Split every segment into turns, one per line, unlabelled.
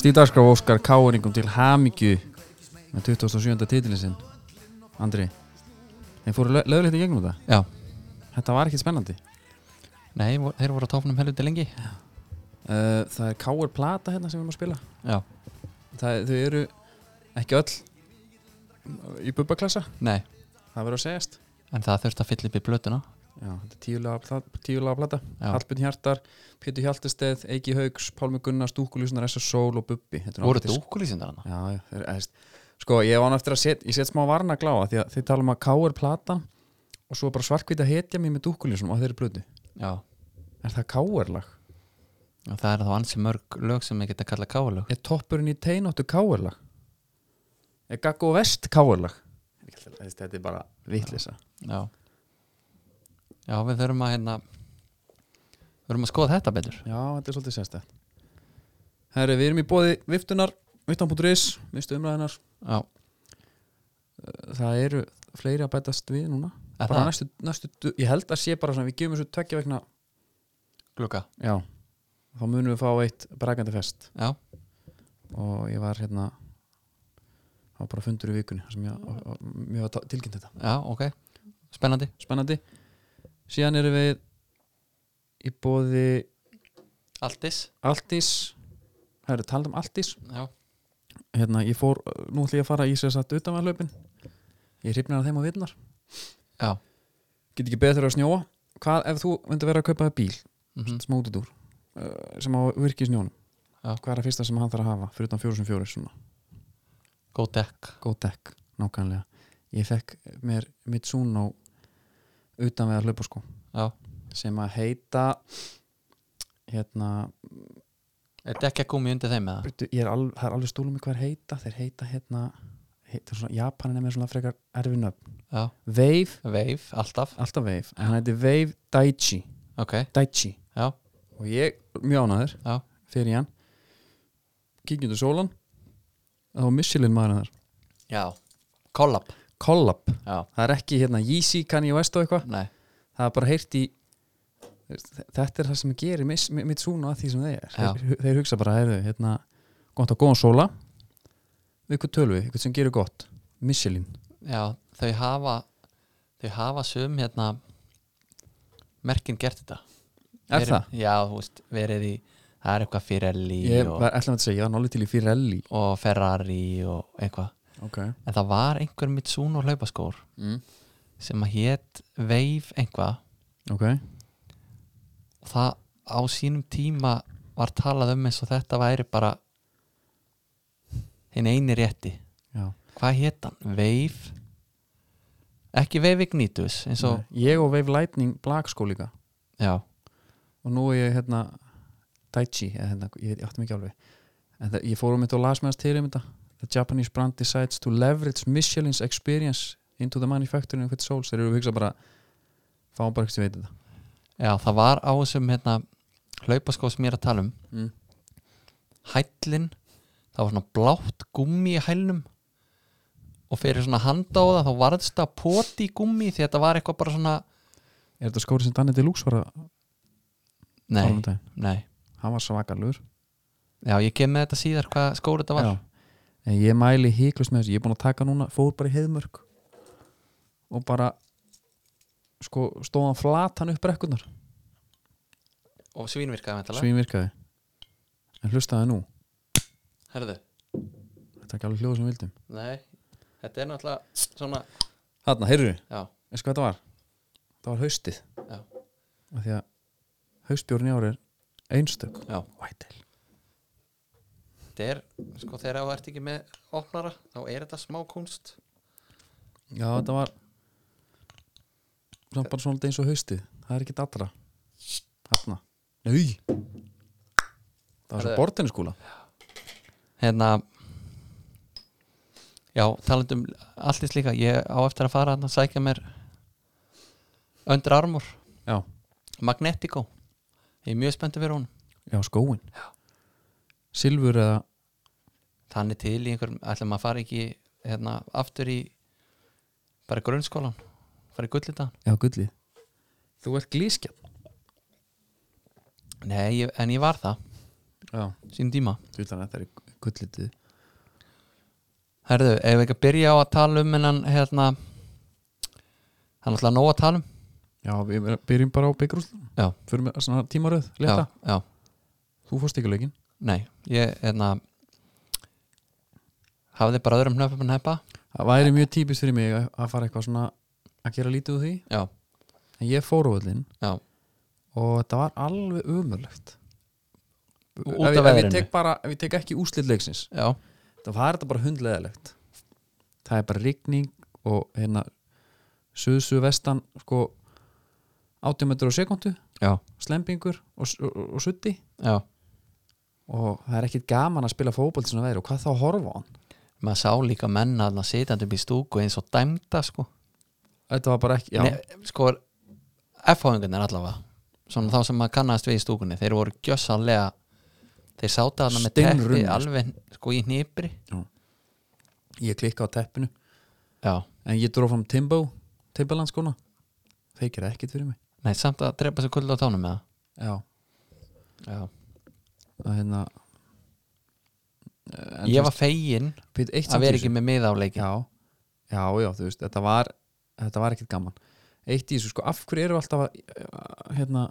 Stíðarskraf Óskar Káeringum til Hamingju með 27. titilin sinn Andri þeir fóru lö- lögleitt í gegnum þetta
Já.
þetta var ekki spennandi
Nei, vo- þeir voru á tófnum helviti lengi
uh, það er Káer Plata hérna sem við erum að spila
Já.
það, þau eru ekki öll í bubbaklassa
Nei,
það verður að segjast
en það þurfti að fylla upp í blötuna
Já, þetta er tíulega, pla- tíulega plata
Já.
Hallbjörn Hjartar, Pétur Hjaltesteð Eiki Haugs, Pálmi Gunnars, Dúkulísnar S.S. Sól og Bubbi Þetta er
Voru
ágætis-
dúkulísindar hann?
Já, já, þeir, eðst, sko, ég var eftir að set, ég set smá varna að gláa því að þið tala um að K.R. plata og svo bara svarkvita hetja mér með dúkkulísum á þeirri blödu.
Já.
Er það K.R. lag?
Og það er þá ansi mörg lög sem ég geta að kalla káalög.
Er toppurinn í teinóttu K.R. lag? Er Gaggo Vest K.R. lag? Þetta er bara vitlisa.
Já. Já, við þurfum að hérna við þurfum að skoða þetta betur.
Já, þetta er svolítið sérstætt. Herri, við erum í bóði viftunar, viftan.is, mistu umræðinar.
Já.
Það eru fleiri að bætast við núna.
Er
Bara
það?
næstu, næstu, du- ég held að sé bara svona, við gefum þessu tveggja vegna
Glugga.
Já, þá munum við fá eitt brakandi fest
Já.
og ég var hérna það var bara fundur í vikunni þar sem ég, og, og, mér var ta- tilkynnt þetta
Já, ok. Spennandi.
Spennandi Síðan erum við í bóði
Altis.
Altís Það eru talað um Altís
Já.
hérna, ég fór, Nú ætlum ég að fara í sér satt utanvæðlaupin Ég hrifnar af þeim á vitnar
Já.
Get ekki betur að snjóa Hvað ef þú myndir vera að kaupa þér bíl
Mm
mm. smá útidúr uh, sem á virki í snjónum
Já.
Hvað er að fyrsta sem hann þarf að hafa fyrir utan 404 svona
Góð dekk.
góð dekk, nákvæmlega ég fekk mér Mitsuno utan við að hlaupa sko
Já.
sem að heita hérna
Er dekk ekki komið undir þeim með það?
byrju, ég er alveg, það er alveg stúlum í hver heita þeir heita hérna heita svona, Japanin er með svona frekar erfið nöfn
Já.
Wave,
Veif, alltaf.
alltaf Wave en hann heiti Wave Daichi
Ok.
Daichi
Já.
og ég, mjög ánæður
Já.
fyrir hann kíkjum til sólan það var Michelin maður þar
Já. Collab.
Collab,
Já.
það er ekki hérna Yeezy, Kanye West og eitthvað
Nei.
það er bara heyrt í þetta er það sem gerir mis- mi- Mitsuno að því sem þeir
Já.
þeir, þeir hugsa bara, heyrðu, hérna gott á góðan sóla ykkur tölvi, ykkur sem gerir gott Michelin,
Já, þau hafa þau hafa sum hérna merkin gert þetta
er
verið,
það?
Já, þú veist, verið í það er eitthvað Firelli
Ég
og,
var ætlaði að segja, ég var nálið til í Firelli
og Ferrari og eitthvað
Ok
en það var einhver Mitsuno hlaupaskór
mm.
sem að hét Wave einhvað
Ok,
og það á sínum tíma var talað um eins og þetta væri bara hinn eini rétti
já
hvað hét hann? Wave ekki Wave Ignitus eins og,
Nei, Ég og Wave Lightning Black sko líka
já,
og nú er ég hérna Daichi, eða hérna, ég veit, ég átti mig ekki alveg en það, ég fór um þetta og las með hans til um þetta The Japanese brand decides to leverage Michelin's experience into the manufacturing of its souls, þeir eru að hugsa bara fáum bara ekki sem veit þetta
Já, það var á þessum hérna, hlaupaskó sem ég er að tala um
Mm.
Hællin það var svona blátt gummi í hælnum og fyrir svona handa á það þá varðst það poti í gummi því þetta var eitthvað bara svona
Er þetta skóri sem Danny Deluxe var að tala um
Nei,
daginn?
nei
Hann var svakalur
Já, ég kem með þetta síðar hvað skór þetta var
Já. En ég mæli híklust með þessu, ég er búin að taka núna fór bara í heiðmörk og bara sko, stóðan flatan upp brekkunar
og svínvirkaði með þetta
svín virkaði en hlustaði nú,
Herðu,
þetta er ekki alveg hljóð sem við vildum
nei Þetta er náttúrulega svona
Þarna, heyrðu
Já,
Veistu hvað þetta var? Það var haustið
Já.
Af Því að haustbjórn í ári er einstök
Já.
Whitel
þetta er sko þegar þú ert ekki með opnara þá er þetta smá kunst
Já, þetta var samt bara svona eins og haustið Það er ekki allra Þarna Nei Það var svo
Herðu.
bortinu skúla
hérna já, talandum allt í slíka, ég á eftir að fara þarna að sækja mér Under Armour,
Já,
Magnetico ég er mjög spenntur fyrir hún
já skóin Já Silfur eða
þannig til í einhverjum, ætlum að fara ekki hérna, aftur í bara í grunnskólan, fara í gullitaðan
Já, gullið Þú ert glískjarn
nei, ég, en ég var það,
Já
sínum tíma
Þú veist þannig að þetta er gullitið
Herðu, ef við ekki að byrja á að tala um en hérna hann ætla að nóg að tala um
Já, við byrjum bara á byggrúslan
Já.
Fyrir með svona tímaröð, leta
já, já,
Þú fórst ekki á leikinn
nei, ég hérna hafði bara öðrum hnöfum að heppa
Það væri mjög típist fyrir mig að að fara eitthvað svona að gera lítið úr því
Já.
En ég fór á öllin
Já.
Og þetta var alveg umurlegt ef,
Ú- út af
ég- ef, ég
veðrinu.
tek bara, ef ég tek ekki úslit leiksins
Já,
Það var þetta bara hundleðilegt Það er bara rigning og hérna suðsuð vestan sko 80 metrur á sekundu
Já.
Slembingur og, s- og, og sutti
já,
og það er ekkit gaman að spila fótbolt svona veður og hvað þá að horfa á hann
maður sá líka menna að sitjandi upp í stúku eins og dæmda sko
Þetta var bara ekki, já,
Nei, sko F-háðingarnir allavega svona þá sem maður kannast við í stúkunni þeir voru gjössanlega þeir sáta hana með teppi
Steinrunnir.
alveg sko í hnýpri
ég klikka á teppinu
já,
en ég dróf fram Timbo, Timbaland sko, skona þeir gera ekkit fyrir mig
nei samt að drepa sér kulda á tánum með
já,
það já.
að hérna en
ég var
þú
fegin
veist, Pít, eitt samt
að
í
vera
þessu.
ekki með miða á leikin
já, já, já, þú veist, þetta var þetta var ekkit gaman eitt í þessu, sko, af hverju eru alltaf að eh, hérna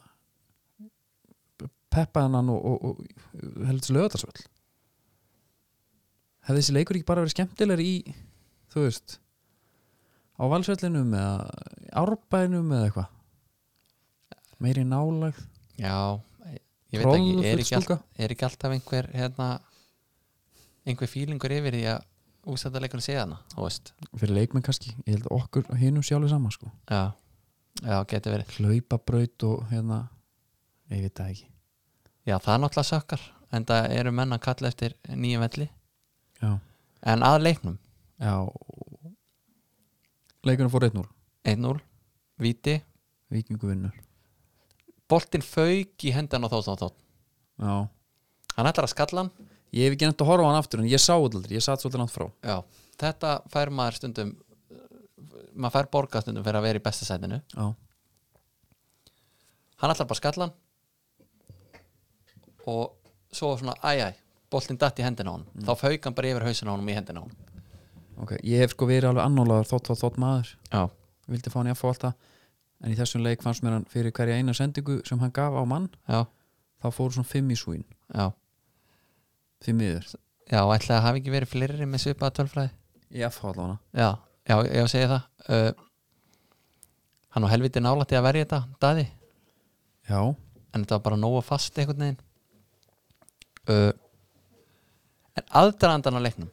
peppa hennan og, og, og heldur lögðarsvöld hefði þessi leikur ekki bara verið skemmtilegur í þú veist á valsvöllinum eða árbænum eða eitthvað meiri nálægð
já, ég veit ekki er ekki, all,
trollfullstúka.
er ekki alltaf einhver hérna, einhver fílingur yfir því að úsættaleikurinn sé hana þú veist
fyrir leikmenn kannski, ég held að okkur hinum sjálfur saman sko,
já, já getur verið
hlaupabraut og hérna, ég veit það ekki
já, það er náttúrulega sökkar en það eru menn að kalla eftir nýjum velli
já,
en að leiknum
já leikunum fór 1-0
1-0, viti
vikingu vinnur
boltinn fauk í hendan á þótt og þótt
já.
hann ætlar að skalla hann
ég hef ekki nefnt að horfa á hann aftur en ég sá þetta aldrei, ég satt svolítið langt frá
já. þetta fær maður stundum maður fær borga stundum fyrir að vera í besta sætinu
já,
hann ætlar bara að skalla hann og svo svona æj æj, boltinn datt í hendina á hann þá fauk hann bara yfir hausina á hann í hendina á hann
ok, ég hef sko verið alveg annólaður þótt þótt þótt maður
já,
vildi fá hann í að fá alltaf en í þessum leik fannst mér hann fyrir hverja eina sendingu sem hann gaf á mann,
já,
þá fóru svona fimm í súin
já
fimm yfir,
já, ætlaði að hafi ekki verið fleiri með svipaða tölfræði
ég fá allavega
já, já, ég segi það uh, hann á helviti nálætti að verja þetta, daði
já,
en þetta var bara nóga fast einhvern veginn uh, en aðdrarandan á leiknum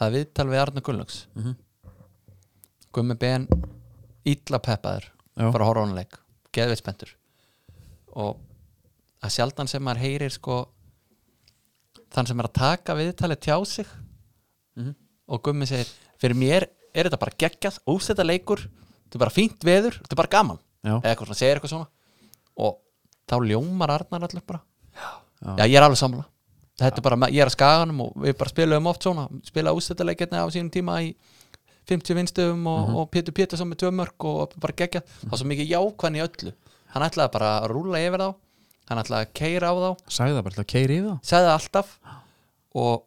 það er viðtal við Arna Gunnlaugs
Mhm.
Gummi Ben illa peppaður
Já.
fyrir að horfa á hann leik, geðveitt spenntur og að sjaldan sem maður heyrir sko þann sem er að taka viðtalið tjá sig
Mhm.
og Gummi segir fyrir mér er þetta bara geggjað úsetta leikur, þetta er bara fínt veður þetta er bara gaman
já,
eða eitthvað svona, segir eitthvað svona og þá ljómar Arnar allir bara
Já.
já, ég er alveg samla þetta er bara, ég er að skaganum og við bara spilaðum oft svona, spilaðum ústættileikirna á sínum tíma í 50 vinstöfum og,
Mhm.
og Pétur Pétursson með tvö mörg og bara gegja, þá svo mikið jákvæðan í öllu hann ætlaði bara að rúla yfir þá hann ætlaði að keira á þá
sagði það bara til að keiri yfir það
segði það alltaf og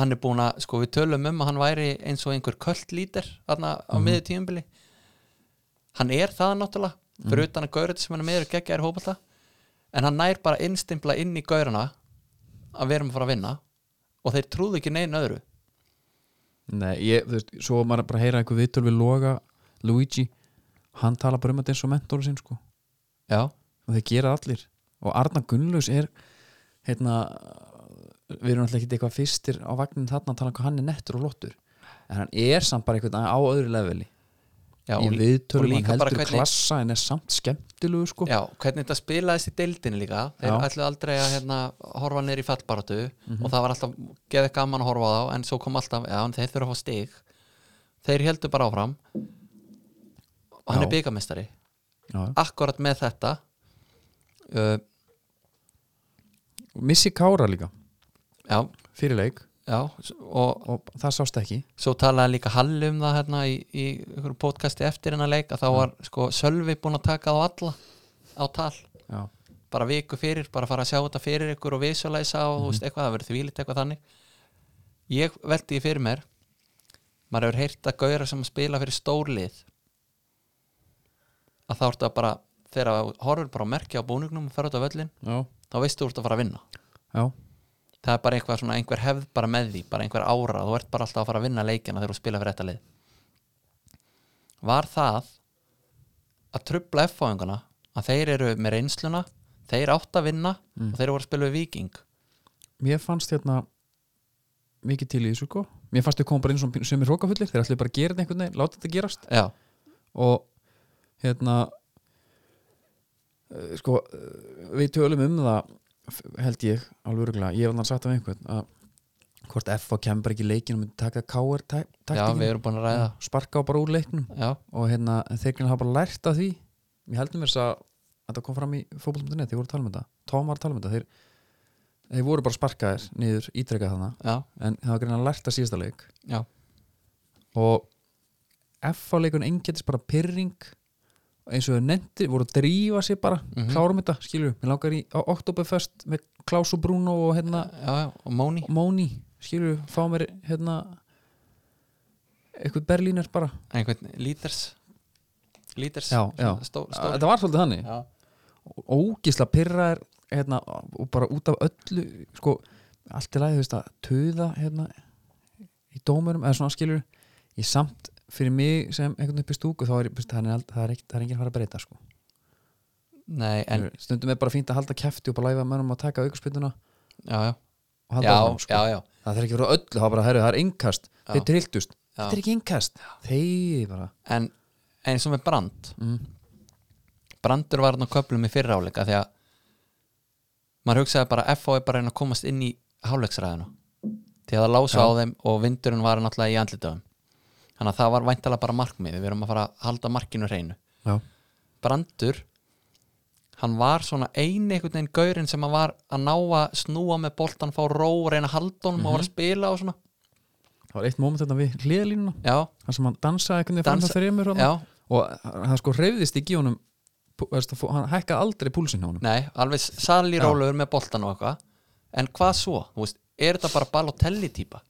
hann er búin að, sko við tölum um að hann væri eins og einhver köld lítir þarna á miðju tíumbili hann er það náttúrulega fyrir utan að gaurið sem hann er meður geggja er hópalta en hann nær bara innstimpla inn í gaurana að við erum að fara að vinna og þeir trúðu ekki neina öðru
Nei, ég, þú veist, svo var maður bara að heyra eitthvað viðtöl við Loga, Luigi hann tala bara um þetta eins og mentor sinn sko.
já,
og þeir gera það allir og Arna Gunnlaus er hérna við erum alltaf ekki eitthvað fyrstir á vagnin þarna að tala um hvað hann er nettur og lottur en hann er samt bara eitthvað á öðru leveli
já
í
og- og
viðtölum, hann
líka bara
heldur
hvernig-
klassa en er samt skemmtilegu sko
Já, hvernig þetta spilaðist í deildinu líka þeir
Já. Mhm.
ætluðu aldrei að hérna, horfa neyri í fallbaratu og það var alltaf geðið gaman að horfa á þá en svo kom alltaf, já, en þeir þurfa að fá stig þeir heldur bara áfram og hann
Já.
er byggamestari
Já.
akkurat með þetta uh,
Og Missi Kára líka,
já,
fyrir leik
já s- og
og það sást ekki
svo talaði líka Halli um það hérna í, í ykkur podcasti eftir hennar leik að þá var sko Sölvi búin að taka á alla á tal
Já,
bara viku fyrir, bara fara að sjá þetta fyrir ykkur og visualæsa og þú veist eitthvað, það verður þvílít eitthvað þannig ég veldi því fyrir mér maður hefur heyrt að gauðra sem spila fyrir stórlið að þá ertu að bara þegar að horfur bara að merkja á búningnum og fer út á völlin,
já,
þá veistu þú ert að fara að vinna
já,
það er bara einhver, svona, einhver hefð bara með því bara einhver ára, þú ert bara alltaf að fara að vinna leikina þegar þú spila fyrir þetta lið var það að trubla F-fáingana að þeir eru með reynsluna þeir átt að vinna
Mm.
og þeir voru að spila við Viking
mér fannst hérna mikið til í þessu sko mér fannst þau koma bara inn sem, sem er hrókafullir þeir ætlaði bara að gera þetta einhvern veginn, láta þetta gerast
já,
og hérna eh, sko eh, við tölum um það f- held ég alveg örgulega, ég hef þannig sagt af einhvern að hvort F og kemur ekki í leikinu myndi taka KR tak-
já við
taktikinn
erum búin að ræða
sparka á bara úr leiknum
já,
og hérna en þeir kannar hafa bara lært af því ég heldum þess að þetta kom fram í fótboltum.net, þeir voru að tala um þetta Tom var að tala um þetta, þeir, þeir voru bara sparkaðir niður ítrekað þarna
já,
en það var greinlega lært af síðasta leik
já,
og F-leikun engetist bara pyrring eins og þau nefndi, voru að drífa sér bara
Mhm.
klárum þetta, skilur við, mér langar í á Oktoberfest með Klaus og Bruno og hérna
já, já, og Móni
og Móni, skilur við, fá mér hérna eitthvað berlínar bara
einhvern líters líters
Já, já.
Stó, stó,
þetta var svolítið þannig,
já,
ógisla pyrraðir hérna, og bara út af öllu sko, allt í lagi, þú veist að töða hérna í dómurum, eða svona skilur ég samt fyrir mig sem einhvern upp í stúku þá er, þú veist, það er, ald- það er, ekki, það er enginn að fara að breyta sko
nei, en,
en, stundum er bara fínt að halda kæfti og bara læfa mönnum að taka aukurspytuna
já, já
og halda
já,
áfram, sko.
já, já,
það þarf ekki verið öllu, það er bara herri, það er innkast
Já.
þeir trilltust,
Já.
þetta er ekki innkast þeir bara
en eins og með brand
mm.
Brandur var hann á köflum í fyrra áleika því að maður hugsaði bara að FH er bara að reyna að komast inn í hálfleiksræðinu því að það
Já.
lása á þeim og vindurinn var náttúrulega í andlitaðum þannig að það var væntalega bara markmið við erum að fara að halda markinu hreinu
já,
Brandur hann var svona eini einhvern veginn gaurinn sem hann var að ná að snúa með boltan, fá ró, reyna að halda honum
Mhm.
og var að spila og svona
það var eitt moment þetta við hliðalínuna
já,
þar sem hann dansaði einhvern veginn
Dansa-
framhjá þreymur þarna.
já,
og hann sko reyðist ekki í honum pú- veist, að fó- hann hækkaði aldrei púlsinn hjá honum
nei, alveg salírólegur með boltan og eitthvað en hvað svo, þú veist, er þetta bara Balotelli típa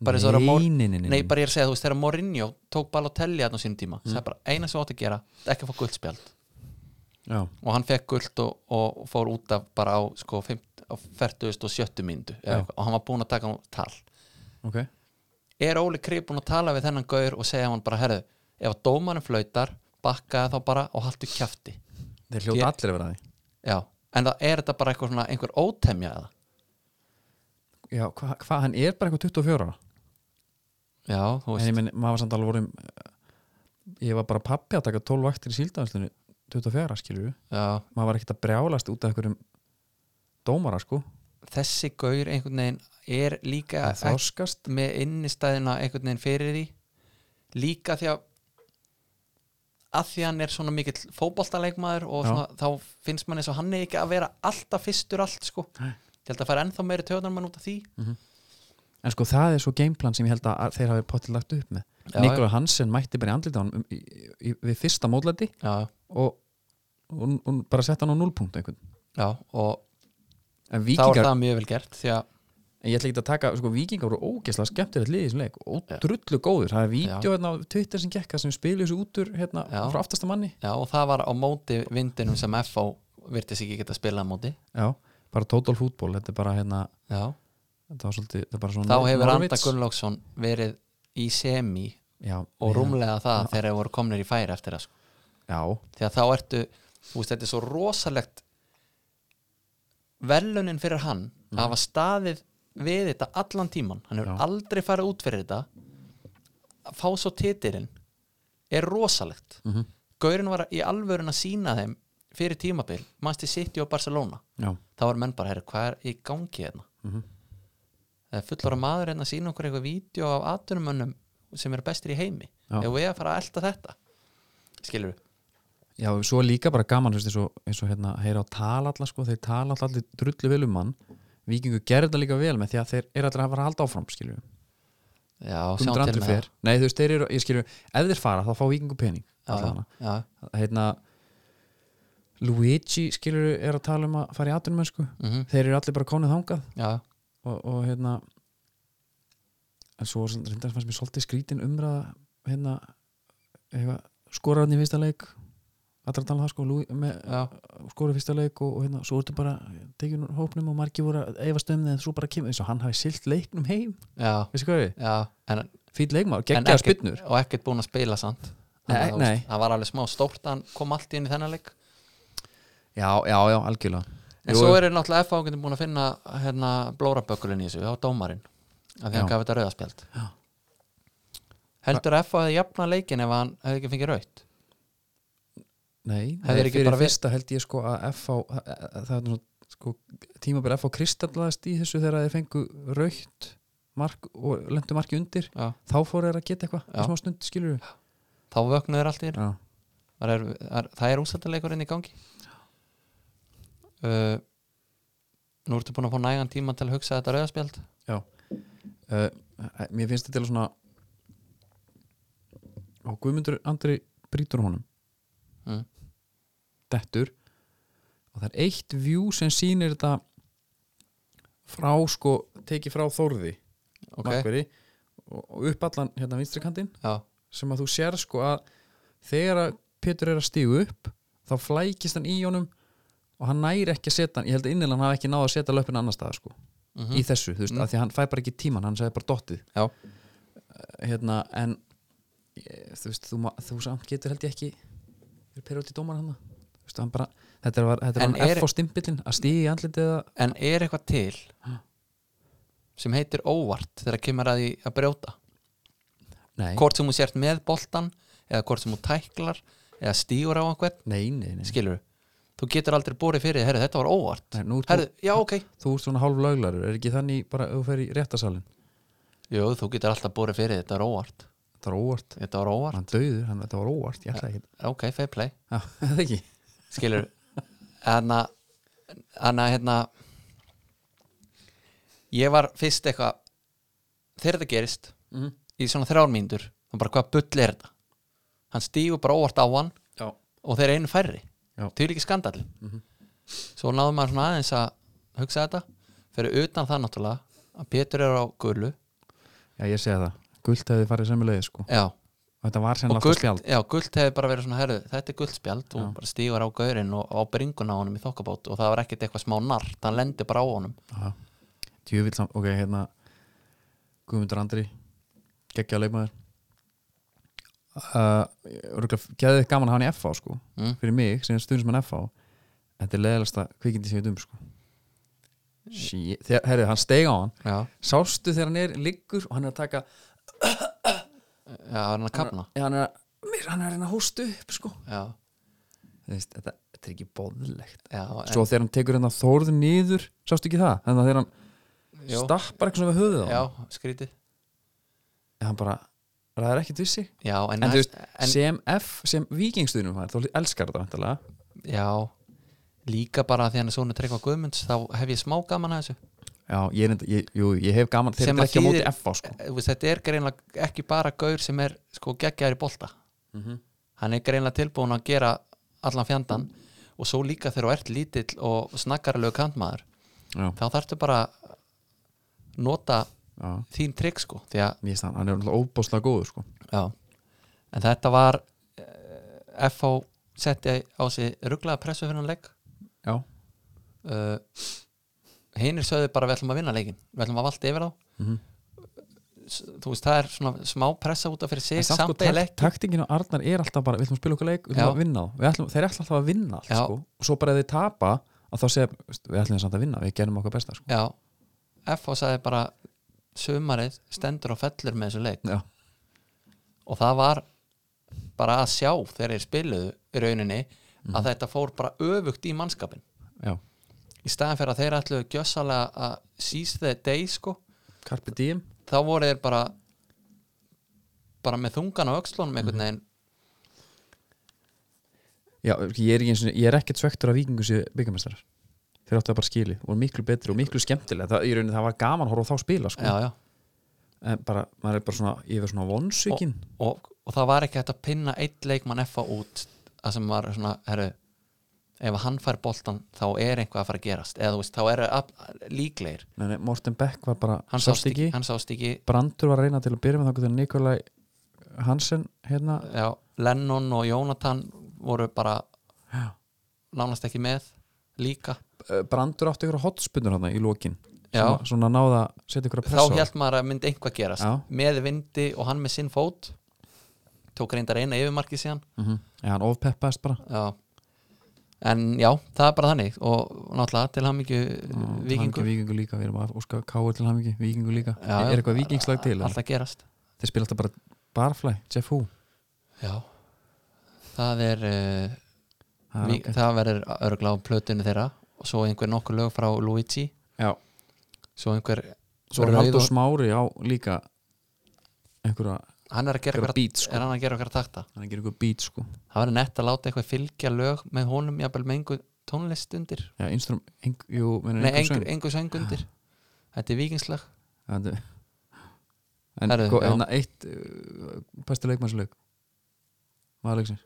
bara eins og þegar Mor-
nei, nei, nei,
Nei, Mm. bara ég er að segja, þú veist, þegar Mourinho tók Balotelli hann á sínum tíma, það er bara eina sem þú átt að gera ekki að fá guldspjald
já,
og hann fekk guld og, og fór út af bara á, sko, 50 á 40 og 70 myndu
Já.
og hann var búinn að taka hann tal
ok
Er Óli Krið búinn að tala við þennan gaur og segja hann bara, herðu, ef að dómarinn flautar bakkaði þá bara og haltu kjafti
þeir hljóta
Ég-
allir að vera því
Já, en það er þetta bara eitthvað svona einhver ótemja eða
já, hvað, hva, hann er bara eitthvað 24 ára
Já, þú
en
veist,
ég minn, maður var samt alveg vorum ég var bara pappi að taka 12 vaktir í síldaðanslunni 24 skilur
já
maður var ekkert að brjálast út af einhverjum dómara sko
þessi gaur einhvern veginn er líka
að þroskast
með innistæðina einhvern veginn fyrir því líka því að að því hann er svona mikill fótboltaleikmaður og
Já.
svona, þá finnst mann eins og hann er ekki að vera alltaf fyrstur allt sko
Nei.
ég held að fara ennþá meiri töðunar mann út af því
en sko það er svo gameplan sem ég held að þeir hafi potið lagt upp með
Já,
Nikola Hansen mætti bara í andlita hann um, í, í, við fyrsta mótlæti
já,
og, og, og bara sett hann á 0 punkt einhvern
já, og
en
þá er
vikingar,
það mjög vel gert því að,
en ég ætla ekki að taka sko vikingar voru ógeðslega skemmtilegt liðið sem leik og
Já.
drullu góður, það er
Já.
vídeo hérna á Twitter sem gekk það sem spilur þessu útur hérna
Já.
frá aftasta manni
já, og það var á móti vindinum sem FH virtist ekki geta að spila á móti
já, bara total fútból, þetta er bara hérna
já,
þetta var svolítið, þetta er bara svona
þá hefur
Norwich.
Anda Gunnlaugsson verið í semi
já,
og
já,
rúmlega það þegar þeir voru komnir í færi eftir það sko
já,
því að þá ertu þú veist, þetta er svo rosalegt velunin fyrir hann að hafa staðið við þetta allan tíman, hann hefur
Mhm. Já.
aldrei farið út fyrir þetta að fá svo titirinn er rosalegt
Mhm.
Gaurin var í alvörun að sína þeim fyrir tímabil, mannst í City og Barcelona
já,
þá var menn bara, herri, hvað er í gangi hérna
Mhm.
það er fullora maður hérna að sína okkur eitthvað vídeo af atunumönnum sem eru bestir í heimi
Já.
ef við erum að fara að elta þetta skilur við,
Já, svo er líka bara gaman þú veist, eins og, eins og hérna, heyra á tala alla sko, þeir tala alla allir drullu vel um hann Víkingu gerði það líka vel með því að þeir eru allir að fara að halda áfram skilju
já, sjáum
Gundur
til
Andri
með
fer Nei, þú veist, þeir eru, ég skilju, ef þeir fara þá fá Víkingu pening
já,
allavega.
já,
Hérna Luigi skilur er að tala um að fara í atvinnumönsku
mm
þeir eru allir bara konið þangað
já,
og, og hérna en svo sem- reyndar fannst mér svolítið skrítin umræða hérna eitthvað, skorar hann í fyrsta leik allra að tala um það sko Lu- með,
já,
skorar í fyrsta leik og, og hérna, svo ertu bara tekin úr hópnum og margir voru að eifa stömmið en svo bara kemur eins og hann hafi silt leiknum heim
já,
veistu hvað við,
já en,
fýt leikmaður,
en
geggjaða
ekkert-
spinnur
og ekkert búin að spila samt Þannig
Nei,
að, þú
nei.
veist, það var alveg smá stórt að hann kom allt inn í þennan leik
já, já, já, algjörlega
en
Jú,
svo
jú.
er náttúrulega FH getur búin að finna hérna blórabökulin í þessu á dómarinn af því
Já.
hann gaf þetta rauðaspjald
Já.
heldur FH hefði jafna leikin ef hann hefði ekki fengið rautt
Nei,
Hefði
nei,
ekki
fyrir
bara verið-
fyrsta held ég sko að FH að- að- það er nú sko tímabil FH kristallaðist í þessu þegar þeir fengu raukt mark og lendu marki undir
já.
þá fóru þeir að geta eitthvað,
Já.
í smá stund skilur við
þá vöknuður allt í þér
Já,
það er, það er, það er úsættaleikurinn í gangi uh, nú ertu búin að fá nægan tíma til að hugsa þetta rauðaspjald
uh, mér finnst þetta til svona og Guðmundur Andri brýtur á honum
Mm.
dettur og það er eitt vjú sem sýnir þetta frá sko tekið frá Þórði
ok,
markverði og og upp allan hérna vinstri kantinn
já,
sem að þú sér sko að þegar að Pétur er að stígu upp þá flækist hann í honum og hann næri ekki að setja hann, ég held að innilega hann hafi ekki náð að setja löpun annar staðar sko,
mm
í þessu, þú veist,
Mhm.
af því að hann fæ bara ekki tíman hann sagði bara dottið
Já.
Eh, hérna, en ég, þú veist, þú, ma- þú samt getur held ég ekki er perið út í dómar hann þú veist, hann bara, þetta var, þetta
En
var hann
er-
F á stimpillin að stígi í andlitið eða
en er eitthvað til sem heitir óvart þegar kemur að því að brjóta
nei,
hvort sem þú sért með boltan eða hvort sem þú tæklar eða stígur á einhvern,
nei, nei, nei.
skilur þú getur aldrei borið fyrir, herri þetta var óvart
nei nú,
herri,
Herðu,
já ok,
þú, þú ert svona hálf löglarur er ekki þannig bara ef þú fer í réttasalinn
jú þú getur alltaf borið fyrir þetta var óvart,
það er óvart
þetta var óvart
hann döður, hann, þetta var óvart ég ætlaði ekki,
ok, fair play,
já, það ekki
skilur þannig að hérna ég var fyrst eitthvað þegar þetta gerist
Mhm.
í svona þrjár mínútur, þá bara hvað bull er þetta hann stígur bara óvart á hann
já,
og þeir eru einu færri
Já. Mhm.
til ekki skandal svo náðum maður svona aðeins að hugsa þetta fyrir utan það náttúrulega að Pétur er á gullu
ég segi það, gult hefði farið semu leið sko.
já,
þetta var
og
sennilega alltaf
gult,
spjald
já, gult hefði bara verið svona herðu, þetta er guldspjald og
Já.
bara stígur á gaurinn og á bringuna á honum í þokkabót og það var ekkert eitthvað smá nart, hann lendi bara á honum
Já. djúvill samt, ok, hérna Guðmundur Andri geggja leikmaður uh, geðið gaman að hafa hann í FH sko,
mm.
fyrir mig, sem stundismann FH þetta er leðalasta kvikindi sem ég veit um sko. Sí, þegar, herrið, hann steig á hann
já,
sástu þegar hann er liggur og hann er að taka
já, var hann að kapna
Já, hann er að, mér, hann er að reyna að hósta upp sko.
já,
Þú veist, þetta, þetta er ekki bóðlegt
já, en,
svo þegar hann tekur hérna þórð niður sástu ekki það, þannig að þegar hann
jú,
stappar eitthvað svona við höfuð á
já,
honum,
skrítið
en hann bara ræðir ekkert vissi
já, en,
En þú veist,
en
sem F, sem vikingstuðnum hann, þá elskar þetta vantilega
já, líka bara því hann er svona tryggva guðmunds, þá hef ég smá gaman að þessu
já, ég, er enda- ég, jú, ég hef gaman þeir
Sem
eru
að
ekki á móti
þýðir-
F á sko
Þú veist, þetta er greinlega ekki bara gaur sem er sko geggjaður í bolta Eh.
Mhm.
hann er greinlega tilbúin að gera allan fjandan og svo líka þegar þú ert lítill og snakkarlegu kantmaður
já,
þá þarftu bara að nota
já,
þín trygg sko því að,
ég veist það, hann er náttúrulega óbáslega góður sko
já en þetta var eh, FH setti á sig rugglaða pressu fyrir hann leik
já,
uh, hinir sögðu bara við ætlum að vinna leikin við ætlum að valda yfir þá
mm
S- þú veist það er svona smá pressa út af fyrir sig
en samt sko
samt eða
takt,
leik
taktingin á Arnar er alltaf bara við ætlum að spila okkur leik, við ætlum
Já.
að vinna þá Við ætlum, þeir ætlum alltaf að vinna allt,
Já.
sko. og svo bara ef þeir tapa að þá segja, veist, við ætlum samt að vinna við gerum okkar besta sko.
já, FH sagði bara sumarið stendur og fellur með þessu leik
já.
og það var bara að sjá þegar þeir spiluðu í rauninni að þetta fór bara öfugt í mannskapin
já,
í staðan fyrir að þeir ætluðu gjössalega að seize the day sko
Carpe Diem
þá voru þeir bara bara með þungan á öxlunum einhvern veginn
já, ég, er ekki eins og, ég er ekkert svektur af vikingu sér byggamestrar þeir áttu það bara skili, voru miklu betri og miklu skemmtilega það, í rauninni, það var gaman að horfa á þá spila sko.
já, já.
en bara, maður er bara svona ég er svona vonsvikinn
Og, og það var ekki hægt að pinna eitt leikmann F út að sem var svona, herru ef hann fær boltan þá er eitthvað að fara að gerast eða þú veist, þá eru ab- líklegir
Nei, nei, Morten Beck var bara
hann sást ekki, hann sást ekki
Brandur var að reyna til að byrja með þá Nikolai Hansen hérna,
já, Lennon og Jónatan voru bara
Já.
nánast ekki með líka
Eh, Brandur átti ykkur hotspunur hérna í lokin
Já.
svona, svona náða að setja ykkur að
þá
pressa á hann.
held maður að myndi einhvað gerast
Já.
með vindi og hann með sinn fót tók reyndar eina yfirmarkið síðan
Mhm. Já, hann ofpeppaðist bara
já. en já, það er bara þannig og náttúrulega til hann ekki
Til hamingju
vikingur
um Víkingur líka, við erum að óska káur til hamingi Víkingur líka,
Já,
er eitthvað vikingslag til eða?
alltaf gerast
þeir spila alltaf bara barfly, Jeff Hu
já. það er uh,
Það er
Vík,
ágætt.
það verður örgla á plötunni þeirra og svo einhver nokkur lög frá Luigi
Já.
svo einhver,
Svo er
Rauð
Haldur
og-
Smári á líka einhverja,
hann er að gera
einhverja
eitthvað
beat sko.
er hann að gera eitthvað takta
hann gerir einhverja beat sko
það verður nett að láta eitthvað fylgja lög með honum jafnvel með einhver tónlist undir
Já, einstrum, ein, jú, menur
nei, einhver,
einhver söng
einhver söng undir þetta er vikingslag
En, en,
Herðu,
gó-
já.
en eitt uh, besti leikmannsleik maður leiksins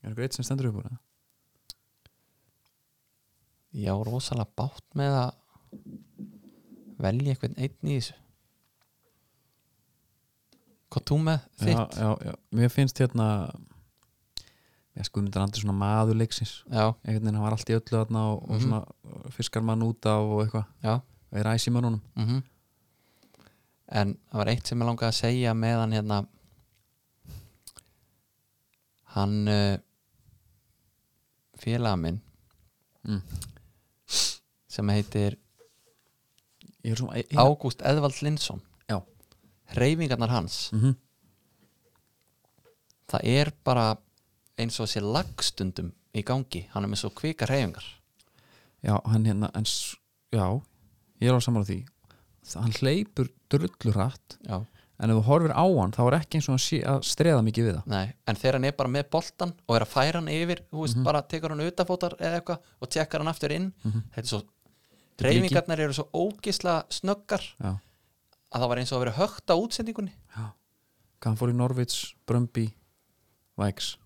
Er einhver eitt sem stendur upp úr það?
já, rosalega bátt með að velja einhvern einn í þessu hvað þú með
Já,
þitt?
já, já, mér finnst hérna Já, sko, myndir andur svona maður leiksins
Já,
einhvern veginn, hann var allt í öllu þarna og, og
Mhm.
svona fiskar mann út af og eitthvað
já.
og er æs í mönnunum
mm en það var eitt sem ég langaði að segja meðan hérna hann uh, félaga minn
Mm.
sem heitir
Ég er svona
Ágúst Edvald Lindsson
Já.
reyfingarnar hans
mm -hmm.
það er bara eins og þessi lagstundum í gangi hann er með svo kvika reyfingar
Já, hann hérna, en s- já, ég er á sammála því Það- hann hleypur drullur hratt
já.
en ef þú horfir á hann þá er ekki eins og hann sé að streða mikið við það
Nei, en þegar hann er bara með boltan og er að færa hann yfir, þú veist, bara tekur hann utafótar eða eitthvað og tekkar hann aftur inn Mhm. þetta er svo,
er ekki-
reyfingarnar eru svo ógisla snöggar
Já,
að það var eins og að vera högt á útsendingunni
já Hvað hann fór í Norvits, Brömbi Vægs,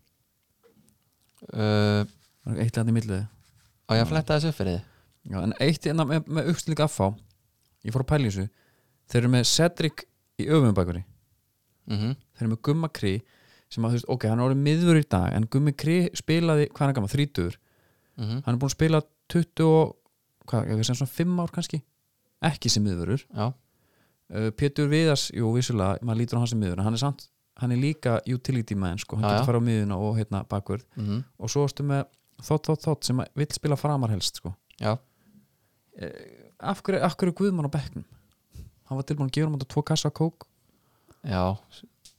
uh,
Var eitt landi í milliði
á ég að fletta þessu upp fyrir þið
Já, en eitt hérna með, með uppstilling affá ég fór að pæla í þessu þeir eru með Cedric í öfumbækvari
mm
þeir eru með Gumma Kri sem að þú veist, ok, hann er orðið miður í dag en Gummi Kri spilaði, hvað er hann gammal, 30
mhm,
hann er búin að spila 20 og, hvað, ég veist sem svona 5 ár kannski ekki sem miðurur
já,
uh, Pétur Viðars, jú, vissulega, maður lítur á hans sem miður en hann er samt, hann er líka utility man sko, hann
Já, já.
getur fara á miðuna og hérna bakvörð
mm
og svo erstu með þótt, þótt, þótt sem að vill spila framar helst sko.
já,
af hverju, af hverju er Guðmann á bekknum hann var tilbúin að gefa hann þetta tvo kassa af kók
já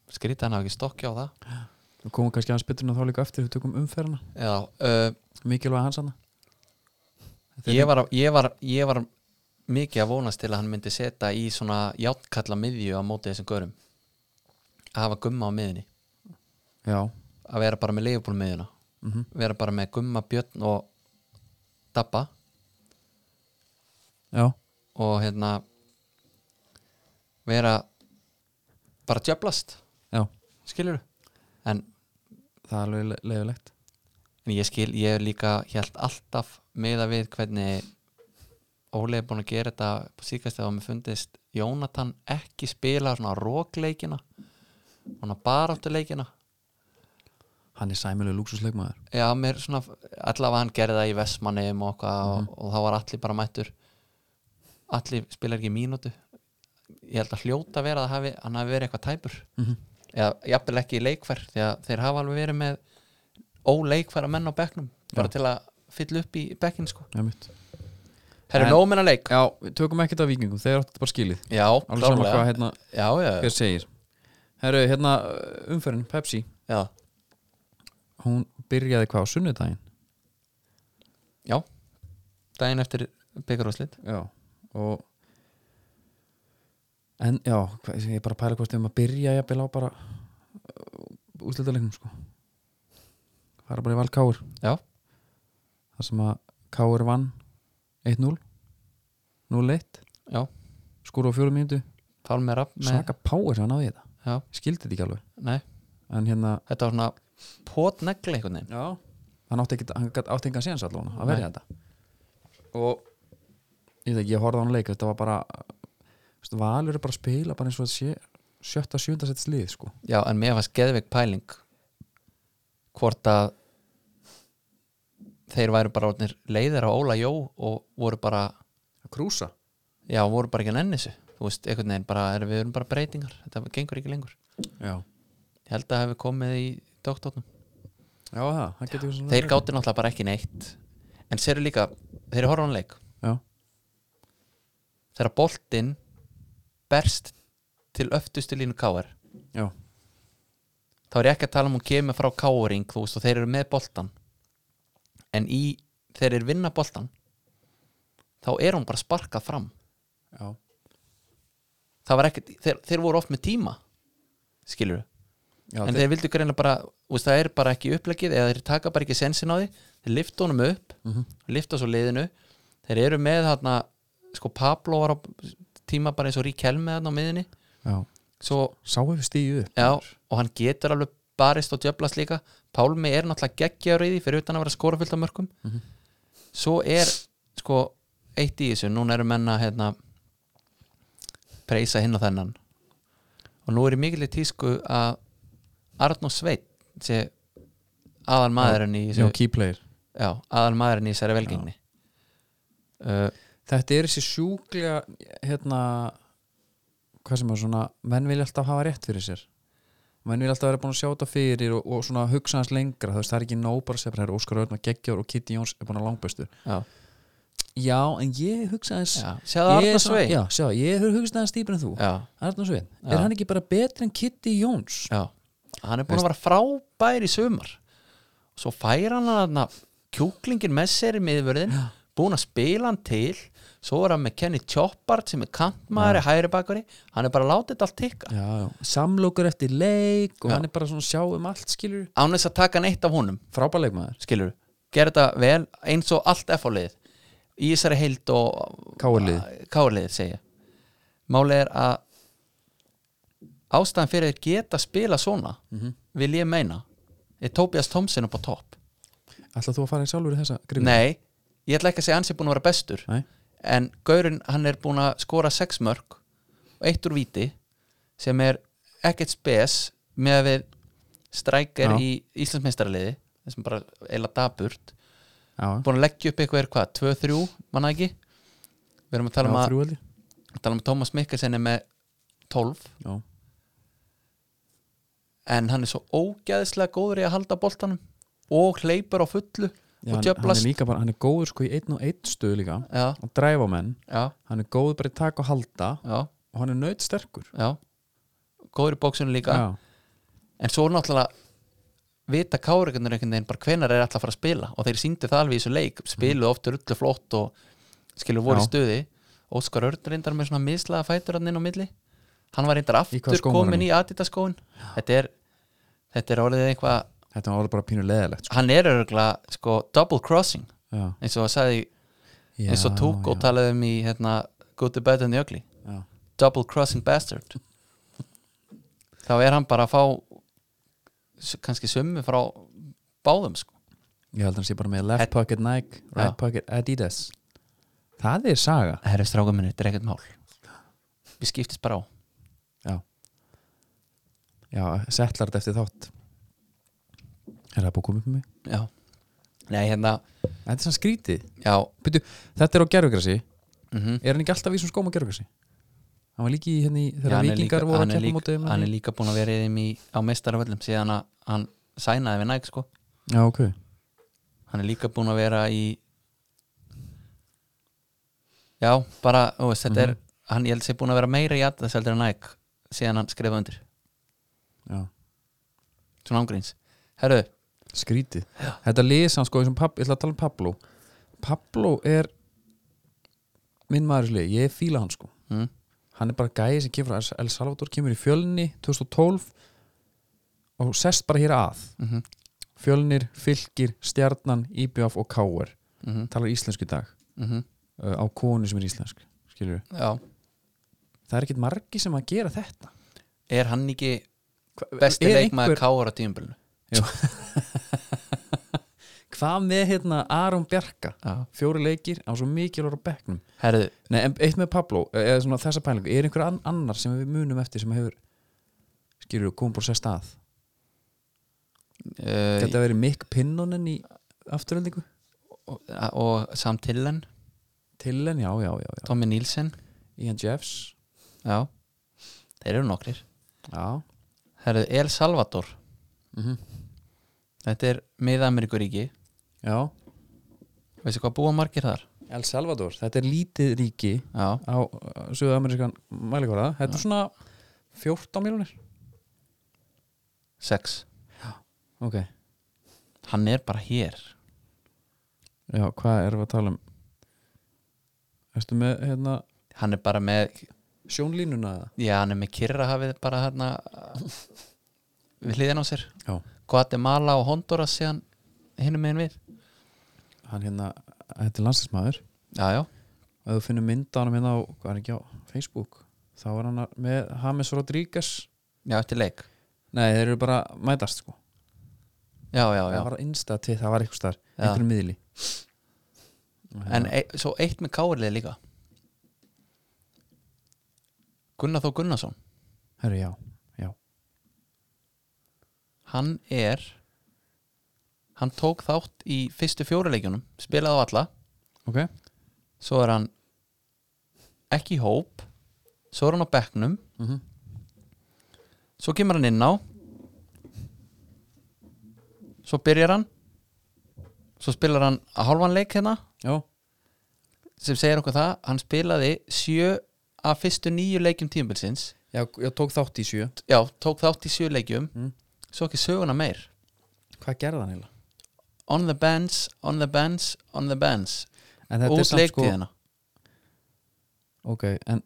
skrýta hann hafi ekki stokki á það
og komum kannski aðeins betur en þá líka eftir við tökum umferðina,
já, uh,
mikilvæg hans hann
ég, var, að- ég, var, ég var mikið að vonast til að hann myndi setja í svona játtkalla miðju á móti þessum görum að hafa gumma á miðinni
já,
að vera bara með leifbúl miðjuna
mhm
vera bara með gumma, björn og dabba
Já,
og hérna vera bara djöblast
já,
skilur en,
það er alveg le- leiðilegt
en ég skil, ég er líka hjælt alltaf meða við hvernig Óli er búin að gera þetta på síkast eða mér fundist Jónatan ekki spila svona rókleikina svona baráttuleikina
Hann er sæmilega lúksusleikmaður
Já, mér svona, allavega hann gerði það í Vestmanneum og, mm.
Mhm.
og, og þá var allir bara mættur allir spilar ekki mínútu ég held að hljóta vera að hafi, hann hafi verið eitthvað tæpur
Mhm.
eða jafnvel ekki leikfær því að þeir hafa alveg verið með óleikfæra menn á bekknum bara
Já.
til að fylla upp í bekkin sko
Já, mitt
Herru,
En-
nómina leik
Já, við tökum ekkert af vikingum, þeir áttu þetta bara skilið
Já,
Alveg sama hvað
klárlega
hérna,
Já, já,
hver segir Herru, hérna umferðin, Pepsi
já,
Hún byrjaði hvað á sunnudaginn
já Daginn eftir byggarúslit
Já, og En já, hvað, ég er bara að pæla hvort þeim að byrja jafnvel á bara úslitaðleikum sko Það er bara í val Káur
Já.
Það sem að Káur vann 1-0 0-1
Já.
Skúru á fjórum mínútu
Pálmi Rapp með,
Svaka power sem hann náði í þetta
já,
Skildi þetta ekki alveg
nei,
En hérna
þetta var svona potnegli einhvern veginn
Já hann átti ekki hann gat- átti engan séns allan að verja
Nei.
þetta hérna. og ég veit ekki, ég horfði á hann leik þetta var bara veist, Valur er bara að spila bara eins og að sé sjötta, sjönda sett slið sko
Já, en mér fannst geðveik pæling hvort að þeir væru bara orðnir leiðir á Óla Jó og voru bara,
að krúsa
já, voru bara ekki að nenni þessu þú veist, einhvern veginn, bara, er, við erum bara breytingar þetta gengur ekki lengur
já,
ég held að hafi komið í doktornum
já það, það getur verið svona
þeir gátu náttúrulega bara ekki neitt en sér eru líka, þeir eru horfanleik
já,
þegar boltinn berst til öftustu línu káar
já,
þá er ég ekki að tala um hún kemur frá káring þú veist og þeir eru með boltan en í, þeir eru vinna boltan þá er hún bara sparkað fram
já,
það var ekki, þeir, þeir voru oft með tíma skilur
já
en þeir, vildu greina bara, þú veist það er bara ekki upplegið eða þeir taka bara ekki sensin á því þeir lifta honum upp,
Mhm.
lifta svo liðinu þeir eru með þarna sko Pablo var á tíma bara eins og Rík Helmi þarna á miðinni
já,
svo
sáu við stíðu upp
Já, og hann getur alveg barist og djöflast líka Pálmi er náttúrulega geggjaður í því fyrir utan að vera skora fullt af mörgum
Mhm.
svo er sko eitt í þessu, núna eru menna hérna, preysa hinn og þennan og nú er í mikilvæg tísku að Arnó Sveit sé aðal maðurinn í
já,
þessu,
key player
já, aðal maðurinn í þessari velgengni uh,
þetta er þessi sjúklega hérna hvað sem er svona, menn vilja alltaf hafa rétt fyrir sér menn vilja alltaf vera búin að sjá þetta fyrir og, og svona hugsa hans lengra þú veist, það er ekki nóg bara að segja bara "Herra, Óskar Örn og Geggjór og Kitty Jóns er búin að langbæstu
já,
já, en ég hugsa hans
já.
ég,
Sjáðu Arnó
er svona-
Sveit
já, sjá, ég hef hugsað hans dýpir en þú
já,
Arnur Svein,
Já.
er hann ekki bara betri en Kitty Jóns?
Já, hann er búin að vera frábær í sumar Svo fær hann hann að kjúklingin með sér í miðvörðin Búin að spila hann til Svo er hann með Kenny Choppart sem er kantmaður í hægri bakari Hann er bara að láta þetta allt tikka
Já, já. samlokur eftir leik og
Já.
hann er bara svona að sjá um allt skilur
Án þess að taka neitt af honum,
frábæleikmaður,
skilur Gerðu þetta vel, eins og allt F-áliðið Í þessari heild og
Káarliðið.
Káarliðið segja Málið er að ástæðan fyrir þeir geta spila svona vil ég meina er Tobias Thompson upp á topp
ætlaðu þú að fara í sjálfur í þessa grifu?
Nei, ég ætla ekki að segja að hann sé búin að vera bestur
Nei.
en Gaurin hann er búin að skora sex mörg og eitt úr viti sem er ekkert spes með að við strækir
Já.
í Íslandsmeistaraliði þessum bara eila daburt
Já,
búin að leggja upp eitthvað er hvað, 2-3 manna ekki við erum að
já,
tala um að
þrjú held ég.
tala um að Thomas Mikkelsen er með 12
Já.
en hann er svo ógæðislega góður í að halda boltanum og hleypur á fullu
Já, hann,
og
hann er
djöflast
líka bara, hann er góður sko í einn og einn stöð líka
já,
hann dræfa menn,
já,
hann er góður bara í tak og halda
já,
og hann er nöyt sterkur
já góður í bóksunum líka en svo náttúrulega vita kárikundar einhvern veginn bara hvenar er alltaf að fara að spila og þeir sýndu það alveg í þessu leik spiluðu oft rullu flott og skilur voru
Já.
í stuði Óskar Örn reyndar með svona mislaða fætur hann inn á milli hann var reyndar
Í hvaða
aftur
skóm var hann
komin
í?
í Adidas skóin þetta er, þetta er orðið eitthvað
þetta var alveg bara pínu leðalegt sko.
hann er örgulega sko double crossing
já.
eins og að sagði
Já,
eins og tók og
já,
talaði um í hérna, Good to Bad and the Ugly
já.
double crossing bastard þá er hann bara að fá s- kannski sömmu frá báðum sko
ég held að hann sé bara með left
Ed-
pocket Nike right
Já.
pocket Adidas það er saga
það er stráka minni, þetta er ekkert mál við skiptist bara á
já, já settlar þetta eftir þátt er það búið að koma upp með mig?
já, nei hérna
þetta er svona skrítið
já,
Byrju, þetta er á gerfugrassi,
mm
er hann ekki alltaf í svona skóm á gerfugrassi? hann var líki í henni
já
þegar
hann, er líka,
vikingar voru
hann,
að
er
keppa
líka,
mótið
hann er líka búin að vera í þeim í, á mestaraföllum síðan að hann sænaði við næg sko
já, ok,
hann er líka búin að vera í já, bara ó, þetta
Mhm.
er, hann ég held sér búin að vera meira í Adidas heldur en næg síðan hann skrifaði undir
já
svona ángríns herru,
skrítið þetta lesa hann sko eins og pab, ég ætla að tala um Pablo Pablo er minn maður í þessu liði, ég fíla hann sko
mm,
hann er bara gæði sem kemur frá El- El Salvador kemur í fjölni 2012 og sest bara hér að
mm -hmm,
fjölnir, fylgir, stjarnan, IBF og Káer,
mhm,
talar íslensku í dag uh, á konu sem er íslensk skilur við,
já
það er ekkit margi sem að gera þetta
er hann ekki
Hva,
besti
er
leikmaður
einhver-
einhver... káar á tíumbilinu
hvað með hérna Aron Bjarka
já.
fjóri leikir á svo mikilvægur á bekknum
herðu,
Nei, en eitt með Pablo, eh, eða svona þessa pælingu er einhver ann- annar sem við munum eftir sem hefur skilur við, komum bara sér stað
uh,
Gæti að verið Mick Pinnonen í afturöldingu?
og, og Sam Tillen
Tillen, já, já, já, já.
Tommy Nielsen
Ian Jeffs
já, þeir eru nokkrir
Já,
herðu, El Salvador
Mhm.
þetta er mið-Ameríkuríki
já
veistu hvað búa margir þar?
El Salvador, þetta er lítið ríki
já,
á uh, suðamerískan mælikvarða þetta er svona 14 miljonir
sex
ok,
hann er bara hér
já, hvað erum við að tala um erstu með hérna
hann er bara með,
sjónlínuna eða?
já hann er með Kirrahafið bara hérna við hliðin á sér
Já.
Guatemala og Honduras síðan hinum megin við
hann hérna, þetta er landsinsmaður
já já,
ef þú finnur mynda hann hérna á, hvað er ekki á Facebook, þá er hann að- með James Rodríguez
já eftir leik
nei, þeir eru bara að mætast sko
já já já,
það var innstæð til, það var eitthvað starf
Já.
einhverjum miðli
en e svo eitt með kárlið líka Gunnar Þó Gunnarsson
herru, já, já,
hann er hann tók þátt í fyrstu fjóruleikjunum spilaði á alla,
ok
svo er hann ekki í hóp svo er hann á bekknum
mm
svo kemur hann inn á svo byrjar hann svo spilar hann hálfan leik hérna
já,
sem segir okkur það, hann spilaði sjö af fyrstu nýju leikjum tímabilsins
já, ég tók þátt í sjö
já, tók þátt í sjö leikjum
Mm.
svo ekki söguna meir
hvað gerði hann eiginlega?
on the bands, on the bands, on the bands
En þetta er
út
samt sko
leiktíðina
Ok, en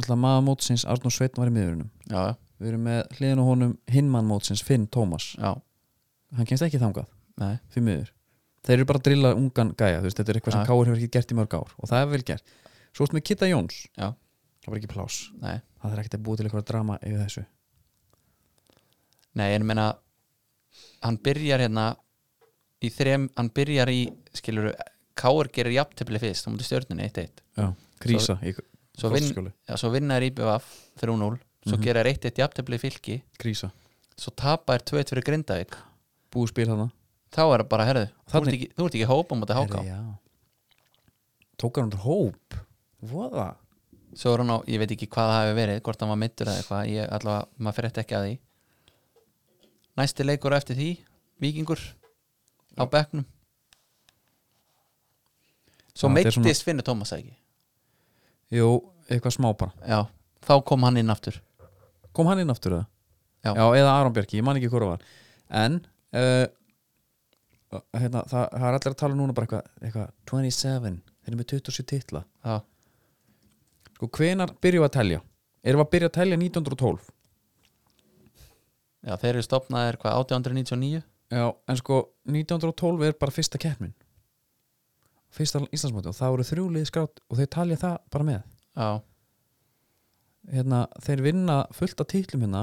alltaf maður mótsins Arnór Sveitn var í miðurinnum
já,
Við erum með hliðin og honum hinmann mótsins Finn Tómas,
já,
hann kemst ekki þangað
nei
fyrir miður, þeir eru bara að drilla ungan gæja, þú veist, þetta er eitthvað sem
Já.
Káur hefur ekki gert í mörg ár og það er vel gert Svo ertu með Kitta Jóns,
Já.
það var ekki plás
Nei,
það er ekkert að búa til eitthvað drama yfir þessu
nei en ég meina hann byrjar hérna í þrem, hann byrjar í skilur, Káur gerir jafntefli fyrst þá mútu stjörnunni 1-1
Já, krísa í
svo, vin,
Frostaskjóli.
já, svo vinnar IBVF 3-0 svo
Mhm.
gerir 1-1 jafntefli í fylki
krísa,
svo tapar 2-1 fyrir Grindavík
búið spil hana
þá er það bara, herðu, þú ert
Þannig-
ekki, þú ert ekki hópa mútið háká,
Herri, já. Tók hann undir hóp Voða
svo er hann á, ég veit ekki hvað það hefur verið, hvort hann var mittur eða eitthvað ég allavega, maður fyrir ekki að því næsti leikur á eftir því vikingur á bekknum svo
Já,
já,
þetta er
meittist svona... Finnur Tómas eða ekki
Jú, eitthvað smá bara
já, þá kom hann inn aftur
kom hann inn aftur það?
Já.
eða Aron Björki, ég man ekki hvora var en uh, hérna, það, það er allir að tala núna bara eitthvað, eitthvað 27, þeir eru með 27 titla
já,
sko hvenar byrjum við að telja? erum við að byrja að telja 1912?
já þeir eru stopnaðir hvað, 1899
Já, en sko 1912 er bara fyrsta keppnin fyrsta Íslandsmóti og það eru þrjúlið skrátt og þeir talja það bara með
já,
hérna, þeir vinna fullt af titlum hérna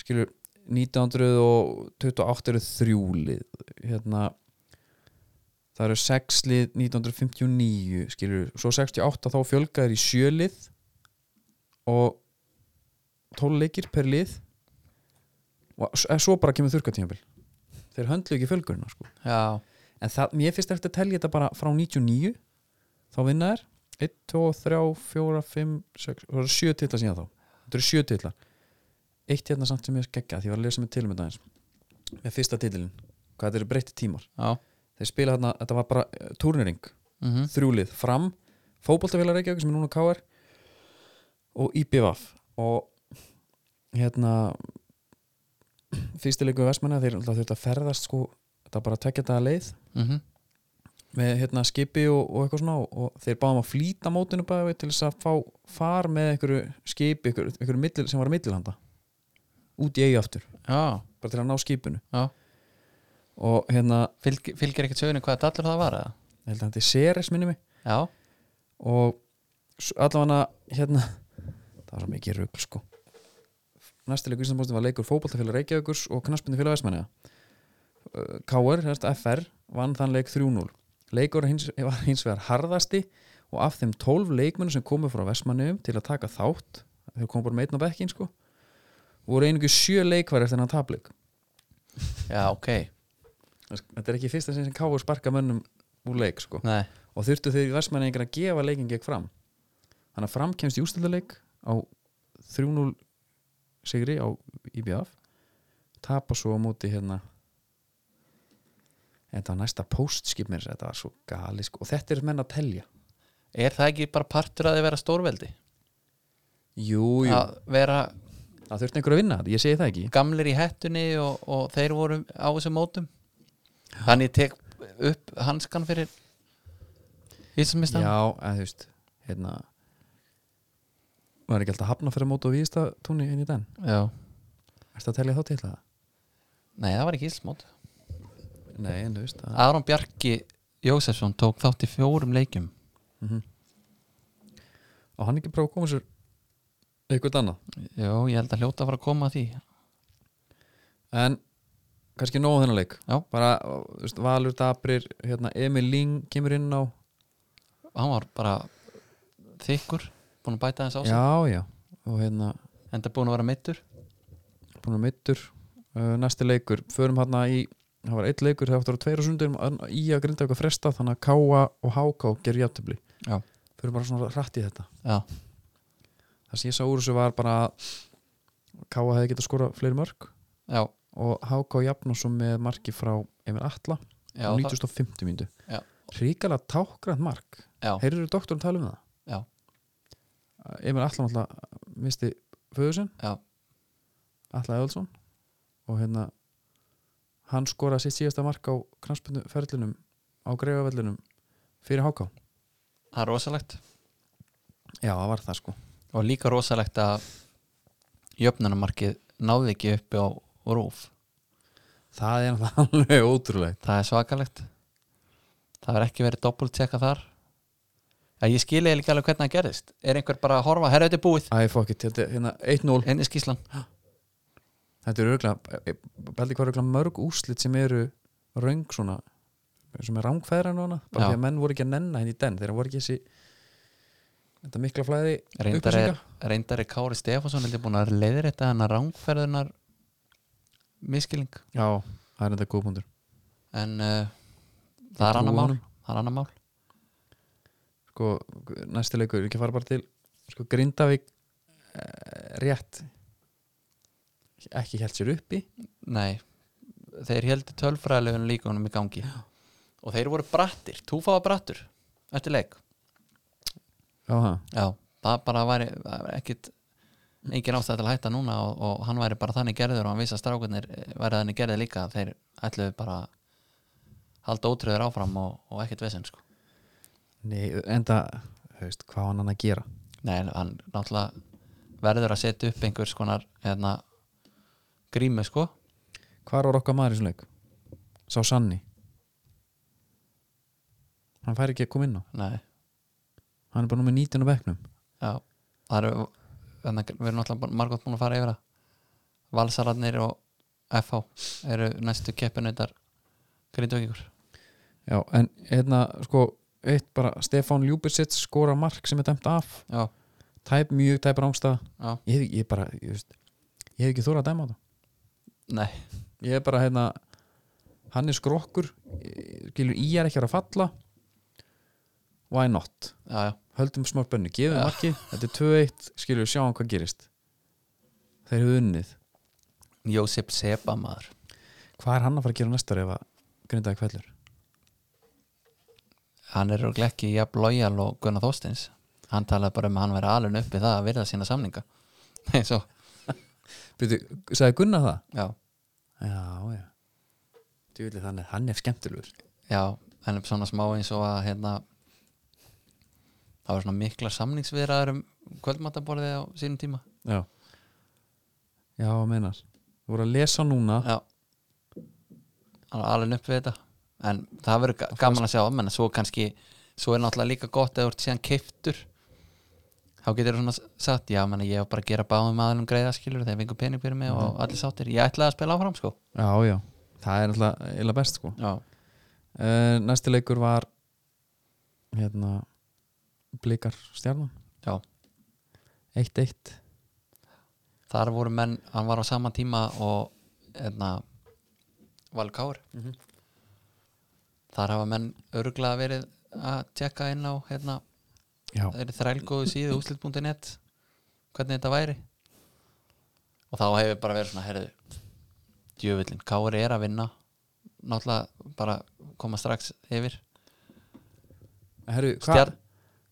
skilur 1928 eru þrjúlið hérna það eru sexlið 1959 skilur, svo 68 þá fjölgaðir í sjölið og 12 leikir per lið og s- eh, svo bara kemur þurrkatímabil þeir höndlu ekki fjölgurina sko
já,
en það, mér finnst eftir að telja þetta bara frá 99 þá vinna þær 1, 2, 3, 4, 5, 6 það eru 7 titla síðan þá þetta eru 7 titla eitt hérna samt sem ég skeggja því ég var að lesa með tilmynda aðeins með fyrsta titlin, hvað þetta eru breytti tímar
já
þeir spila þarna, þetta var bara uh, turnering
mm
þrjúlið, fram, fótboltafélag Reykjavík sem er núna KR og IBVF og hérna fyrstileiku vestmanna, þeir alltaf þurft að ferðast sko, þetta er bara að tekja þetta leið
mhm,
með hérna skipi og, og eitthvað svona og, og þeir báðum að flýta mótinu bæði til þess að fá far með einhverju skipi, einhverju, einhverju middil, sem var að millilanda út í eigi aftur,
já,
bara til að ná skipinu
já
og hérna,
Fylg, fylgir ekkert sögunu hvað dallur það var eða?
ég held að þetta er Ceres minni mig
já,
og s- allavega hérna það var svo mikið rugl sko næstileg Íslandsmóstin var leikur fótboltafélag Reykjavíkurs og knaspindi félag Vestmanniða uh, KR, semst FR vann þann leik 3-0 leikur hins, var hins vegar harðasti og af þeim 12 leikmunum sem komu frá Vestmanniðum til að taka þátt þau komu bara meitn á bekkin sko voru einungi sjö leikvar eftir þennan tapleik
já, ok
þetta er ekki í fyrsta sinn sem KR sparka mönnum úr leik sko
Nei.
og þurftu þeir Vestmanniðingar að gefa leikin gegn fram þannig að fram kemst í ústölduleik á 3-0 sigri á IBF tapa svo á móti hérna en það var næsta postskip mér að segja, þetta var svo gali sko. og þetta er menn að telja
er það ekki bara partur að þið vera stórveldi
jú, jú,
að vera
það þurfti einhver að vinna þetta, ég segi það ekki
gamlir í hettunni og, og þeir voru á þessum mótum þannig ég tek upp hanskan fyrir Íslandsmistan
já, eða þú veist hérna var ekki alltaf hafna fyrir móti og víðist að túnni inn í den
já.
ertu að telja þá til það?
nei, það var ekki Íslandsmót
nei, en þú veist að...
Aron Bjarki Jósefsson tók þátt í fjórum leikjum
og hann ekki prófa að koma sér eitthvað annað
já, ég held að hljóta að fara að koma að því
En kannski nóg um þennan leik
Já.
Bara, þú veist, Valur Dabrir hérna, Emil Ling kemur inn á
hann var bara þykkur, búin að bæta þess á sig
Já, já Og hérna,
en það búin að vera meittur
búin að mittur uh, Næsti leikur, förum hérna í Það var eitt leikur, það áttur á tveir og sundur Í að grinda eitthvað fresta, þannig að Káa og Háká gerir játtöfli
Já.
Förum bara svona rætt í þetta
Já.
Það sem ég sá úr þessu var bara að Káa hefði getað skorað fleiri mörg
já,
Og Háká jafn og svo með marki frá Emil Atla,
já,
á
það,
90.50 mínútu
Já.
Ríkala tákrand mark
já,
Heyrður doktorinn tala um það?
Já.
Emil Allan alltaf misti föðusinn
Já.
Alla Eðalsson og hérna hann skoraði sitt síðasta mark á knarsbunduferlinum á greifavellinum fyrir Háká
það er rosalegt
Já, það var það sko
og líka rosalegt að jöfnanamarkið náði ekki uppi á rúf
Það er náttúrulega alveg ótrúlegt
það er svakalegt það verður ekki verið doppult tjekka þar að ég skil eða líka alveg hvernig það gerðist er einhver bara að horfa, herra þetta er búið
Æ, fuck it, þetta er hérna 1-0
henni skíslan,
Þetta er örgulega, beldi hvað örgulega mörg úslit sem eru röng svona sem er rángfæðra núna bara
Já.
því að menn voru ekki að nenna henni í den þegar voru ekki þessi þetta mikla flæði
reyndar
upplýsinga.
er, reyndar er Kári Stefánsson heldur búin að leiðrétta þetta hennar rángferðunar miskiling
Já, það er þetta góðbundur
en uh, það er annar mál það er annar mál
Sko, næsti leikur, ekki fara bara til Sko, Grindavík eh, rétt ekki held sér uppi
Nei, þeir heldur tölfræðilegun líkunum í gangi og þeir voru brattir, túfa var brattur eftir leik
Já, ha.
Já, það bara væri það væri ekkit engin ástæð til að hætta núna og, og hann væri bara þannig gerður og hann vissi að strákunir væri þannig gerðir líka að þeir ætluðu bara að halda ótröður áfram og, og ekkit vesinn sko.
Nei, enda, haust, hvað á hann hann að gera
Nei, en hann náttúrulega verður að setja upp einhvers konar hérna, grímu sko
Hvar var okkar maður í svona leik? Sá Sanni Hann fær ekki að koma inn á
Nei,
Hann er bara númer 19 á bekknum
já það eru, þannig að við erum náttúrulega margótt búin að fara yfir það Valsararnir og FH eru næstu keppinautar grindaukingur
Já, en hérna, sko eitt bara, Stefán Ljúbisits skora mark sem er dæmt af,
Já,
tæp mjög tæp rángstað
já,
ég, hef- ég bara, ég veist ég hef ekki þóra að dæma á það
nei
ég er bara hérna hann er skrokkur eh, skilur í er ekki að fara að falla why not
Já, já,
höldum smá spennu, gefum
Já.
marki þetta er 2-1, skilur við sjáum hvað gerist þeir hefur unnið
Jósef Seba maður
hvað er hann að fara að gera næstar ef að grindaði kveldur
hann er örugglega ekki jafn lojal og Gunnar Þorsteins hann talaði bara um að hann væri alveg upp við það að virða sína samninga eins og,
Byrju, sagði Gunnar það?
já,
já, já Djúli, þannig, hann er skemmtilegur
já en svona smá eins og að hérna það var svona miklar samningsviðraður um kvöldmataborðið á sínum tíma
já, já meinar þú voru að lesa núna
já hann var alveg upp við þetta en það verður ga- gaman að sjá menn svo kannski, svo er náttúrulega líka gott að þú ert síðan keiftur þá getur þú svona s- sagt, já, menn ég var Mhm. bara að gera báðum aðlum greiðaskilur þegar fengur pening fyrir mig og allir sáttir, ég ætlaði að spila áfram sko
Já, já, það er alltaf illa best sko
já,
uh, næsti leikur var hérna blikar stjarnan
Já.
1-1
þar voru menn, hann var á sama tíma og hérna Valkáur
Mhm.
þar hafa menn örglega verið að tjekka inn á hérna,
já,
það er þrælgóðu síðu úslit.net hvernig þetta væri og þá hefur bara verið svona herðu, djöfullin, Kári er að vinna náttúrulega bara koma strax yfir
herru, hva,
Stjarn,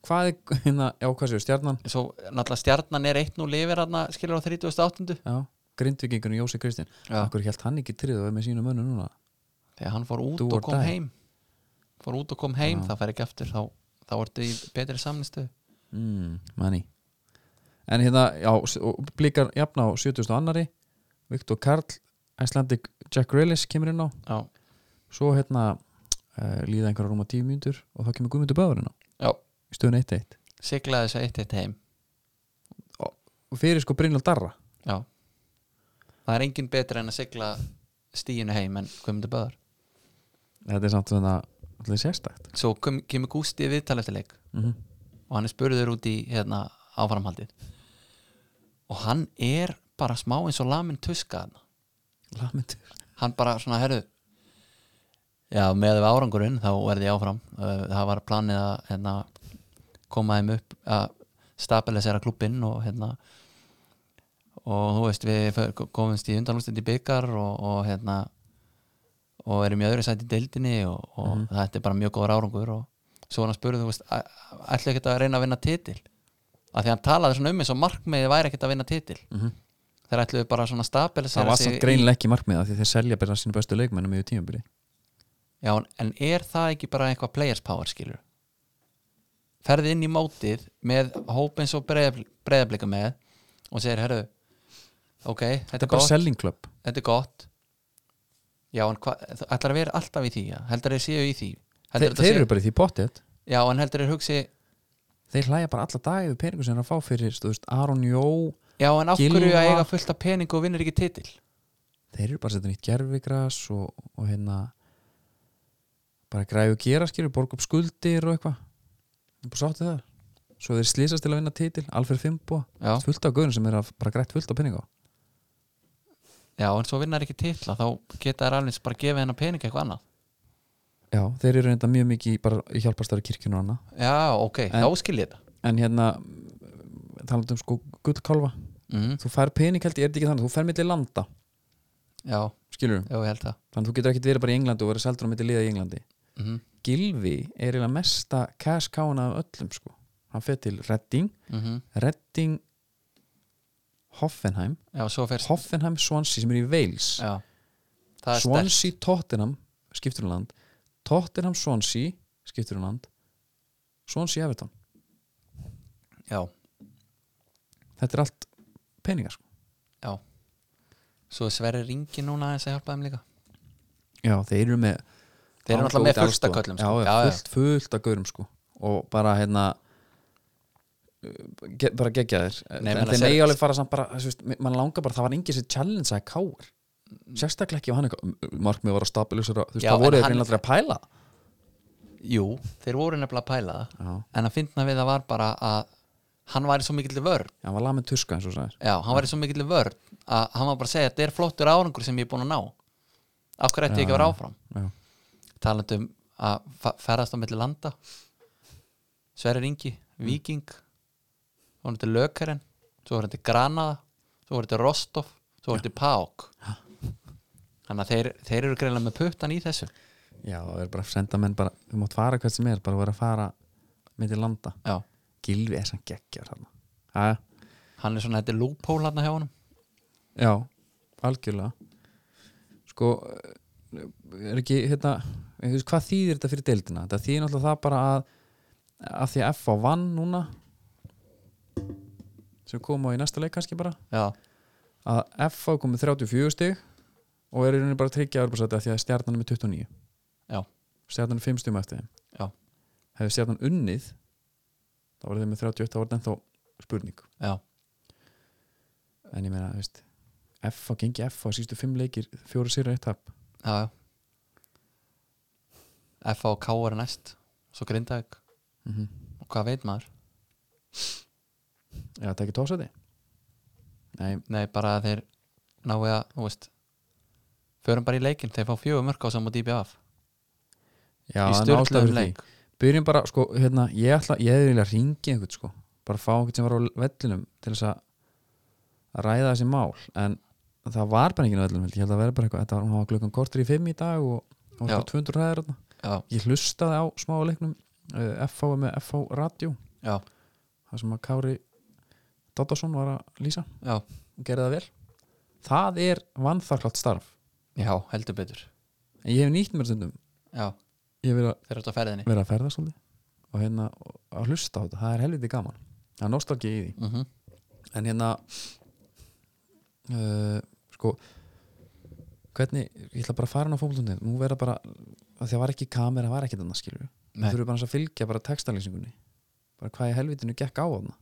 hvað er hérna, já, hvað séu, stjarnan
svo náttúrulega stjarnan er 1-0 yfir hann skilur á 38.
já, grindvikingunum Jósi Kristinn
Já.
akkur hélt hann ekki tríðu með sínu mönnu núna
þegar hann fór út
Do
og
or
kom
die.
heim fór út og kom heim,
Já.
það fær ekki aftur þá, þá ertu í betri samnistu
mm, manni en hérna, já, s- og blikar jafna á 70. annari Viktor Karl, Icelandic Jack Grealish kemur inn á,
já,
svo hérna uh, líða einhverja rúma 10 mínútur og þá kemur Guðmundur Báður inn á
já,
í stöðun 1-1
siglaði þessu eitt eitt heim
og fyrir sko Brynjald Darra
já það er engin betri en að sigla stíinu heim en Guðmundur Böður
þetta er samt svona allir sérstakt
svo kom, kemur Gústi í viðtal eftir leik
mm
og hann er spurður út í hérna, áframhaldið og hann er bara smá eins og lamin tuska hann
lamentur
hann bara svona, herru já, með við árangurinn þá verði ég áfram Uh, það var planið að hérna, koma þeim upp að stabilisera klubbinn og hérna og þú veist, við för- komumst í undanlústend í byggar og, og hérna og erum í öðru sæti í deildinni og, og
Mhm.
þetta er bara mjög góður árangur og svo hann spurði, þú veist, "Æ- ætla ekkert að reyna að vinna titil af því hann talaði svona um eins og markmiðið væri ekkert að vinna titil þeir ætluðu bara svona að stabilisera
það var
sig
samt
Mhm. í-
greinilega ekki markmiða því þeir selja bara sínu bestu leikmennum yfir tímabili
Já, en- en er það ekki bara eitthvað players power skilur? Ferði inn í mótið með hóp eins og breyðablika með og segir, herru, ok, þetta
þetta
er
er bara
gott,
selling club
þetta er gott. Já, en hvað, þú ætlar að vera alltaf í því, já, heldur þeir séu í því.
Þe,
Heldur þetta
þeir
séu-
eru bara í því pottet
Já, en heldur þeir hugsi,
þeir hlæja bara alla dagi við peningur sem þeir eru að fá fyrir þú veist, Aron Jó,
já, en af hverju
Gylfa.
að eiga fullt af pening og vinnur ekki titil?
þeir eru bara að setja nýtt gerfigras og, og hérna bara græðu að gera skilur borga upp skuldir og eitthvað Ég er bara sátti það svo þeir slýsast til að vinna titil, Alfred Fimbo
Já,
fullt af guðun sem er að bara grætt fullt af peninga
já, en svo vinnar ekki titla, þá geta þeir alveg eins bara að gefa hennar pening eitthvað annað.
já, þeir eru reynda mjög mikið í- bara í hjálpastöru kirkjun og annað
Já, ok,
En-
þá skil ég þetta.
en hérna talandi um sko gullkálfa
Mm,
þú fær pening held ég, er þetta ekki þannig, þú fær milli landa
já,
skilur,
já, ég held það.
þannig að þú getur ekkit verið bara í Englandi og verið seldur á milli liða í Englandi
Mm,
Gilvi er eiginlega mesta cash kána af öllum sko, hann fer til Redding
mm,
Redding Hoffenheim,
já, svo fer
Hoffenheim Swansea sem er í Wales,
Já Það er sterkt
Swansea Tottenham skiptur um land, Tottenham Swansea skiptur um land Swansea Everton,
Já,
þetta er allt peningar sko
svo er Sverri ringi núna aðeins að hjálpa þeim líka
já, þeir eru með
Þeir eru
Hann
náttúrulega með
tók
fullsta
aðstoð.
köllum
já,
sko.
já, fullt, fullt af gaurum sko og bara hérna uh, ge, bara gegja þér
Nei,
en
menn,
þeir
sér-
megi alveg fara samt bara þú veist, mann langar bara, það var engin sem challenge að káur sérstaklega ekki ef hann eitthvað markmið var að stabilisera, þú veist,
Já,
það
en
voru þeir
hann-
innlega að pæla
Jú, þeir voru nefnilega að pæla það
já,
En að fyndna við það var bara að hann væri svo mikill vörn
hann var lamin tuska eins og sagðir
Já, hann væri svo mikill vörn að hann var bara að segja þetta er flottur árangur sem ég er búin að ná Af hverju ætti ég ekki að vera áfram
já,
Talandi um að fa- ferðast á milli landa Sverri ringi, Víking Svo var þetta Lökaren Svo var þetta Granada Svo var þetta Rostov Svo var þetta Pák Þannig að þeir, þeir eru greinlega með puttan í þessu
já, það er bara að senda menn bara þú mátt fara hvert sem er, bara vera að fara með til landa,
Já,
gilvi er sem geggjar hann, aðja
hann er svona, þetta er loophole hann hjá honum
Já, algjörlega Sko eh, er ekki, hérna þú veist, hvað þýðir þetta fyrir deildina? Þetta þýðir náttúrulega það bara að að því að F á vann núna sem kom á í næsta leik kannski bara
Já,
að F á komið 34 stig og er í rauninni bara að tryggja Evropasæti að því að stjarnan er með 29
Já.
Stjarnan er 5 stum eftir þeim
Já.
Hefur stjarnan unnið þá voru þeim með 38 þá var þetta ennþá spurning
já,
en ég meina, þú veist F á gengi F á sístu fimm leikir, fjóru sýra eitt tap
já, já FA og K er næst svo Grindavík
mm
og hvað veit maður?
Já, það er ekki tósæti Nei,
Nei, bara að þeir náu að, þú veist förum bara í leikinn, þeir fá fjögur mörk á saman dýpi af
já, það
í
er
stjórnlegum
ástæður því
leik
Byrjum bara, sko, hérna, ég ætla ég hefði vilja ringi einhvern, sko bara fá einhvern sem var á vellinum til þess að að ræða þessi mál en það var bara enginn á vellinum held ég. ég held að vera bara eitthvað, þetta var hún hafa klukkan kortur í fimm í dag og og hún
Já.
var 200 ræðir þarna.
já,
ég hlustaði á smá á leiknum uh, FH er með FH Radio
já,
það sem að Kári Doddason var að lýsa
já,
og gerði það vel það er vannþaklátt starf
já, heldur betur
en ég hef nýtt mér stundum
já,
ég hef verið að-
þeir eru þetta á ferðinni
verið að ferða svolítið og hérna og- að hlusta á þetta, það er helviti gaman það er nostalgi í því
mm
en hérna uh, sko hvernig, ég ætla bara að fara inn á fókbólundin nú verða bara, af því það var ekki kamera það var ekki þarna skilur við,
Nei.
þú þurfum bara að fylgja bara textalýsingunni, bara hvað í helvitinu gekk á þarna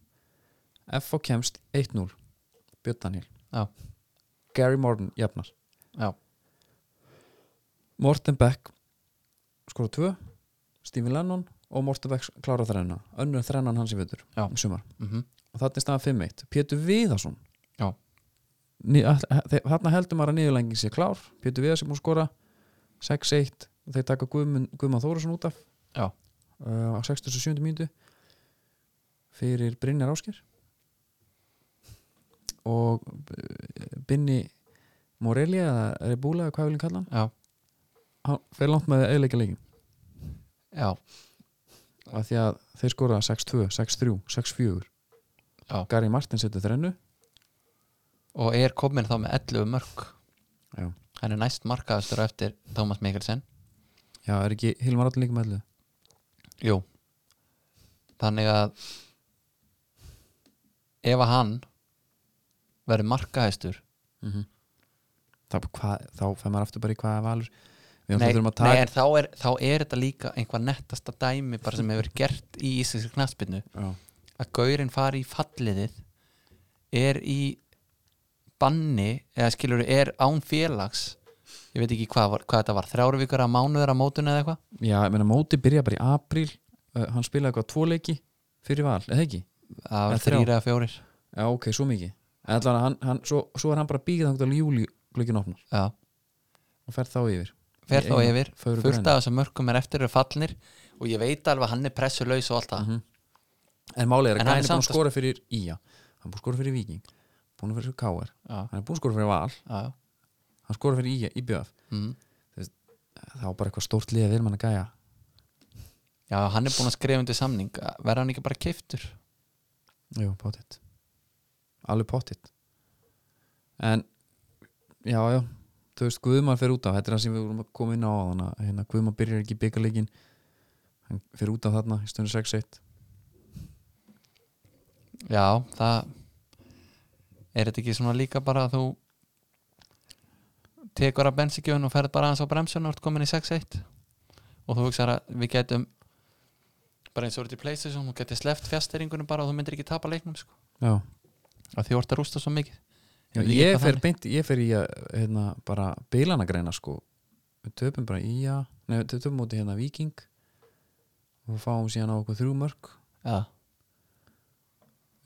F.O. kemst 1-0, Björn Daniel
Já.
Gary Morton jafnar
Já.
Morten Beck skora 2 Stephen Lennon og Morten Beck klára þrenna önnur þrennan hans í völdur
Já.
í sumar
-hmm.
og þarna er staðan 5-1 Pétur Viðarsson
Já.
Ný, all- þe- þarna heldur maður að niðurlengin sé klár Pétur Viðarsson múið skora 6-1 og þeir taka Guðmun, Guðman Þórusson út af
Já.
uh, á 67. mínútu fyrir Brynjar Ásker og uh, Binni Morelli eða Rebúla eða hvað viljum kalla hann
já,
hann fer langt með eðleika leikin
já,
af því að þeir skora 6-2, 6-3, 6-4
Já.
Gary Martin setur þrennu
og er komin þá með 11 mörk
Já.
hann er næst markaðastur á eftir Tómas Mikkelsen
Já, er ekki Hilmar Allir líka með allir
Jú Þannig að ef að hann verður markahæstur
mm
Mhm.
-hmm. þá, hva, þá fær maður aftur bara í hvaða valur við
nei,
náttúrulega þurfum að
nei,
taka
en þá er, þá er þetta líka einhvað nettasta dæmi bara sem hefur verið gert í íslenski knaspinu
Já,
að gaurinn fari í falliðið er í banni eða skilur er án félags ég veit ekki hvað, var- hvað þetta var þrjáru vikar að mánuður að mótuna eða eitthvað
Já, ég meina móti byrja bara í apríl uh, hann spilaði eitthvað tvo leiki fyrir val eða ekki?
það var
Eða þrjá.
þrýra eða fjórir
Já, ok, svo mikið en allan, hann, hann, svo, svo er hann bara bíkið þangt að júli glöggin opnar
Já.
og fer þá yfir
fer
Í
þá
einu
yfir
fögru
fullt
grænu.
af þessum mörkum er eftir eru fallnir og ég veit alveg að hann er pressulaus og allt það
Mhm. en málið er að
En hann
hann er
er
búin
samt
að
að-
skora fyrir Ía hann er búin að skora fyrir Viking búin að skora fyrir KR
já,
hann er búin að skora fyrir Val
já, já.
hann skora fyrir Ía í BF
Mhm.
þá bara eitthvað stórt liða vil mann að gæja
já, hann er búin að skrifa undir samning verða hann ekki bara keiftur
Jú, pottitt Alveg pottitt En, já, já Þú veist, Guðmar fer út af Þetta er það sem við vorum að koma inn á áðan, að hérna, Guðmar byrjar ekki í byggarleikin Hann fer út af þarna í stundu 6-1
já, það er þetta ekki svona líka bara að þú tekur að bensikjöfun og ferð bara aðeins á bremsun og ert komin í 6-1 og þú hugsar að við getum bara eins og verið í Playstation þú getur sleppt fjasteringunum bara og þú myndir ekki tapa leiknum sko.
Já,
að því þú ert að rústa svo mikið
já
Ég veit
ég,
hvað
fer
þannig.
beint, ég fer í að hérna, bara bílanagreina sko Við töpum bara í að Nei, við töpum móti hérna Viking og fáum síðan á okkur þrjú mörg
já,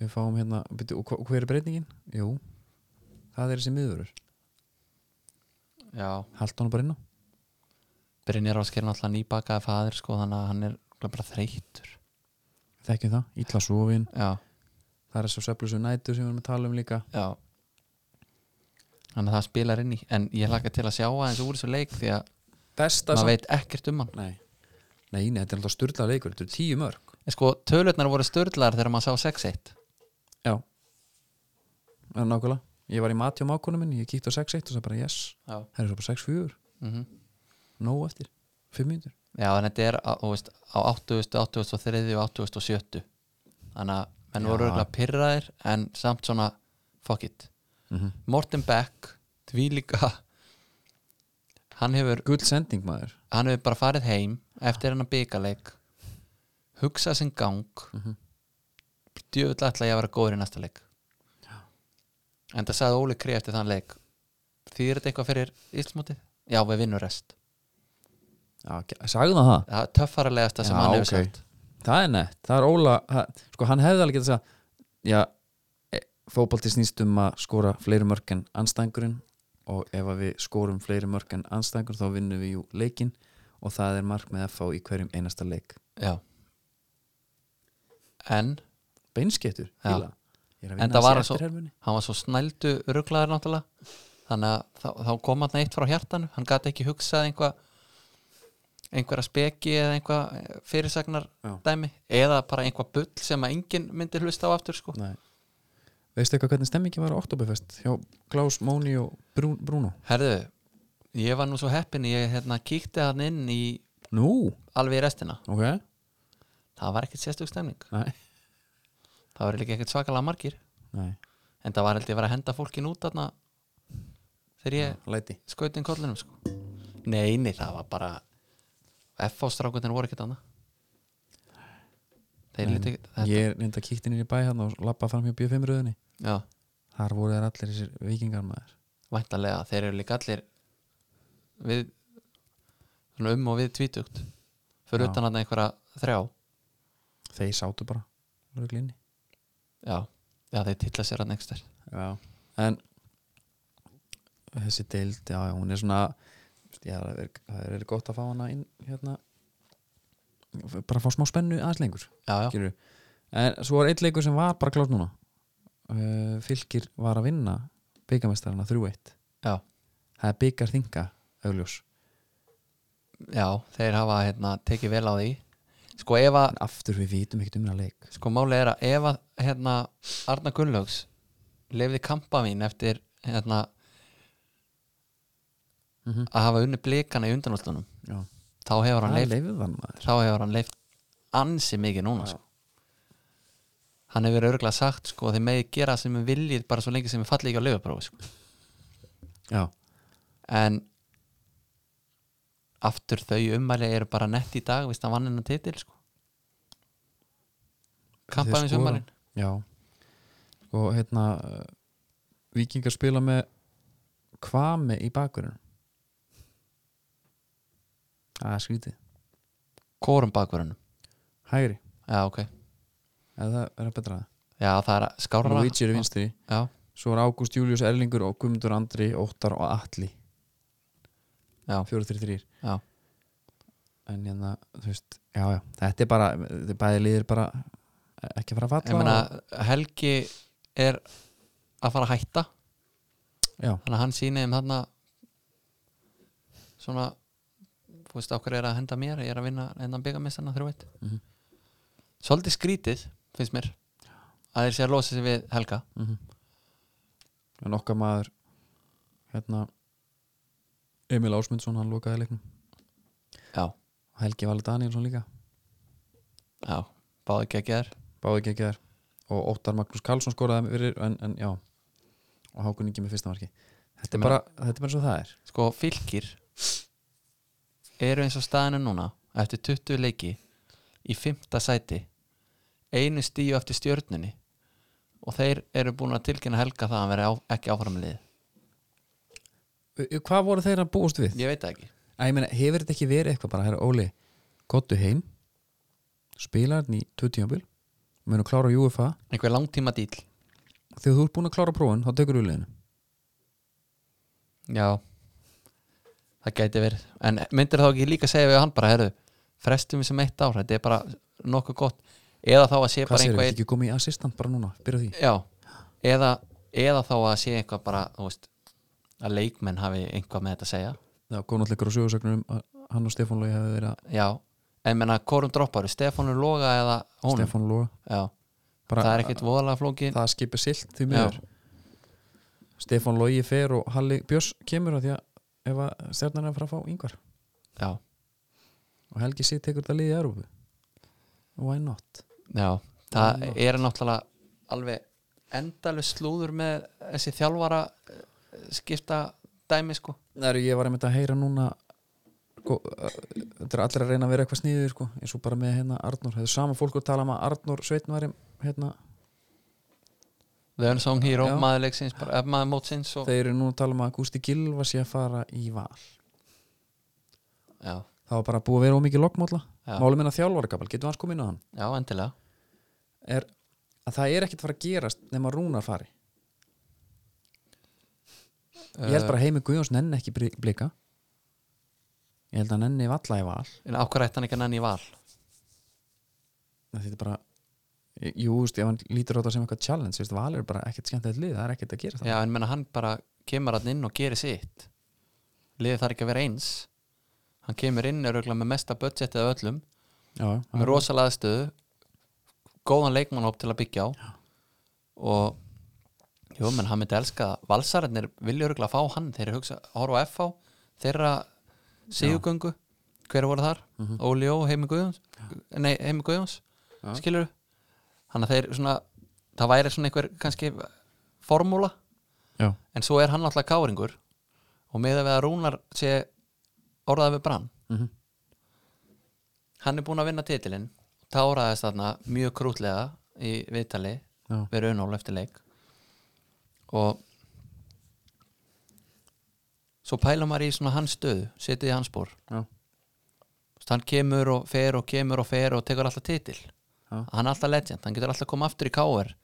Við fáum hérna, byrju, og hva- og hver er breytingin? Jú, það er þessi miðurur
já
Haltu hann bara inn á
Brynjar Ásker er náttúrulega nýbakaði faðir sko, þannig að hann er örugglega bara þreytur
þekkjum það, illa sofin
já,
það er svo sveflusu nætur sem við erum að tala um líka
já þannig að það spilar inn í en ég hlakka til að sjá aðeins úr þessu leik því að
besta
maður veit ekkert um hann
nei. nei, nei, þetta er alltaf styrla leikur þetta eru tíu mörg
en sko, tölutnar voru störðlar þegar maður sá 6-1
já, það er nákvæmlega ég var í mati á mákunum minn, ég kíkti á 6-1 og það bara yes,
já.
það er svo bara 6-4
Mm
nóg eftir, 5 mínútur
já, en þetta er á, þú veist, á 80, 83 og 87 þannig að menn
Já.
voru örugglega pirraðir en samt svona, fuck it
mm -hmm.
Morten Beck, því líka hann hefur
gull sending maður
hann hefur bara farið heim eftir hennar byggaleik hugsað sinn gang mm
Mhm.
-hmm. djöfull ætla ég að vera góður í næsta leik en það sagði Óli Krið eftir þann leik þýðir þetta eitthvað fyrir Íslandsmótið já við vinnum rest
Já, ge- sagði hann það?
það er töffaralegasta sem
Já,
hann hefur
ok.
sagt
Það er nett, það er Óla það, sko hann hefði alveg getað að já, e, fótbolti snýst um að skora fleiri mörg en anstængurinn og ef að við skorum fleiri mörg en anstængurinn þá vinnum við jú leikinn og það er markmið að fá í hverjum einasta leik
já en
beinskettur,
Já.
fíla Ég er að
En
vinna
það var
þessi
svo-
eftirhermunni.
hann var svo snældu rugglaður náttúrulega þannig að þá, þá kom hann eitt frá hjartanu hann gat ekki hugsað einhvað einhverja speki eða einhvað eh, fyrirsagnar
Já.
dæmi eða bara einhvað bull sem að enginn myndi hlusta á aftur sko
Nei. Veistu eitthvað hvernig stemmingi var á Oktoberfest hjá Klaus, Móni og Brún, Bruno
herðu, ég var nú svo heppin ég hérna kíkti hann inn í
Nú,
alveg í restina
ok
það var ekkert sérstök stemning
Nei,
það var líka ekkert svakalega margir
Nei.
en það var held ég að vera að henda fólkin út þarna þegar ég
Læti
skaut inn kollinum sko. nei, nei, það var bara FH strákutin voru ekkert annað þeir
Nei,
líti þetta,
Ég er reynda kíkti inn í bæ hann og lappa fram hjá B5 röðinni
já,
Þar voru þær allir þessir vikingar maður
væntanlega þeir eru líka allir við svona um og við tvítugt fyrir
Já.
utan að einhverja þrjá
Þeir sátu bara örugglega inni.
já, já þeir tilla sér að nekstar
En þessi deild, já, já, hún er svona já, það er, það er gott að fá hana inn hérna bara að fá smá spennu aðeins lengur
já, já,
skilurðu. en svo var einn leikur sem var bara klátt núna uh, Fylkir var að vinna byggamestarana 3-1
Já.
það er byggar þinga augljós,
já, þeir hafa hérna, tekið vel á því sko ef að
en aftur við vitum ekkert um hérna leik
Sko málið er að ef að hérna, Arna Gunnlaugs lefði kampa mín eftir hérna,
mm
að hafa unni blikana í undanústunum
já,
þá hefur hann
það
leift
leifið hann maður
þá hefur hann leift ansi mikið núna
Já.
sko. hann hefur örgulega sagt sko, þið megið gera sem við viljið bara svo lengi sem við fallið ekki á löguprófi sko.
já,
en aftur þau ummæli eru bara nett í dag viðst að vann hennar titil sko. kampa
Þeir
mín
skora.
ummælin
já og hérna uh, vikingar spila með kvami í bakurinn það er skrítið
kórum bakverðunum
hægri,
já, okay.
eða það er að betra
já, það er að
það
skára
Luigi er í vinstri
já,
Svo er Ágúst Július Erlingur og Guðmundur Andri, Óttar og Atli
Já.
4-3-3
Já.
En hérna, þú veist, já, já Þetta er bara, þetta er bæði liðir bara ekki að fara að
ég
falla
meina Helgi er að fara að hætta
Já,
þannig að hann sýni um þarna svona þú veist okkur er að henda mér ég er að vinna hérna hendan byggamestana þrjóðið mm
Mhm.
svolítið skrítið finnst mér að þeir sé að losa sig við Helga
mm Mhm. En okkar maður hérna Emil Ásmundsson, hann lokaði leiknum
já,
og Helgi Valur Danielsson líka,
já, báði geggjaður
báði ekki ekki þær og Óttar Magnús Karlsson skoraði fyrir, en, en já og Hákun Ingi með fyrsta marki Þetta er
Ég
bara, þetta er bara svo það er
sko fylgir eru eins og staðinu núna eftir 20 leiki í fymta sæti einu stíu eftir stjörnunni og þeir eru búin að tilkynna helga það að hann veri á, ekki áframlið
Hvað voru þeir að búast við?
ég veit það ekki
Æ, ég meina, hefur þetta ekki verið eitthvað bara, herra Óli gottu heim spila hann í 20 ámbil munu klára UFA
einhver langtíma dýl
þegar þú ert búin að klára prófun, þá tekur þú liðinu
já það gæti verið en myndir þá ekki líka segja við hann bara herru frestum við sem eitt ár þetta er bara nokkuð gott eða þá að sé
hvað
bara
sér,
einhver
ekki komið í assistant bara núna, byrja á því
Já, eða, eða þá að sé eitthvað bara, þú veist að leikmenn hafi einhvað með þetta að segja
það kom náttúrulega ykkur á sögursögnum um að hann og Stefán Lói hefði verið að
Já, en menna, hvorum droppar Stefánur Loga eða honum
Stefán Lói
Já,
bara,
það er ekkit voðalega flókin
það skipir silt því
Já.
miður Stefán Lói fer og Halli Björns kemur að því að ef að stjarnan er að fara að fá yngvar
Já,
og Helgi Sitt tekur þetta liðið í Európu why not?
já, það
Já.
er náttúrulega alveg endalveg slúður með þessi þjálfara eh, skipta dæmi sko
Næru, ég var einmitt að heyra núna sko, uh, þetta er allir að reyna að vera eitthvað sniður sko, eins og bara með hérna Arnór þetta er sama fólk að tala um að Arnór Sveitn var hérna,
The Unsung Hero,
Já.
maður leiksins, bara- eh, maður mótsins og
þeir eru núna að tala um að Gústi Gilva sé að fara í val
já,
það var bara búið að vera ómikið lokmála
Já.
málum minna þjálfarkabal, getur hans komið inn á hann
já, endilega
er að það er ekkert fara að gerast nema Rúnar fari ég
Eh,
held bara að heimi Guðjóns nenni ekki bri- blika ég held að hann nenni valla í val
En á hvað rætt hann ekki að nenni í val?
Það þetta er bara jú, þú veist, ef hann lítur á það sem eitthvað challenge þú veist, val er bara ekkert skemmtilegt lið, það er ekkert að gera það
Já, en menna hann bara kemur hann inn og gerir sitt Liðið þarf ekki að vera eins Hann kemur inn er auðvitað með mesta budgetið af öllum
já, já,
með rosalega stöðu góðan leikmannhóp til að byggja á og jú, menn hann myndi elska það. valsararnir vilja örgulega fá hann þeir eru hugsa, horfa á FH þeirra sigugöngu hver voru þar, Óli Ó, Heimi Guðjóns nei, Heimi Guðjóns,
Mhm. Já.
skilur þannig að þeir svona það væri svona einhver kannski formúla
já,
en svo er hann alltaf káringur og með að við að Rúnar sé orðað við brann
Mhm.
hann er búin að vinna titilinn táraðist þarna mjög krútlega í viðtali
já.
við Runól eftir leik og svo pæla maður í svona hans stöðu setið í hans spór
Já.
Þú veist, hann kemur og fer og kemur og fer og tekur alltaf titil
Já.
hann er alltaf legend, hann getur alltaf koma aftur í KR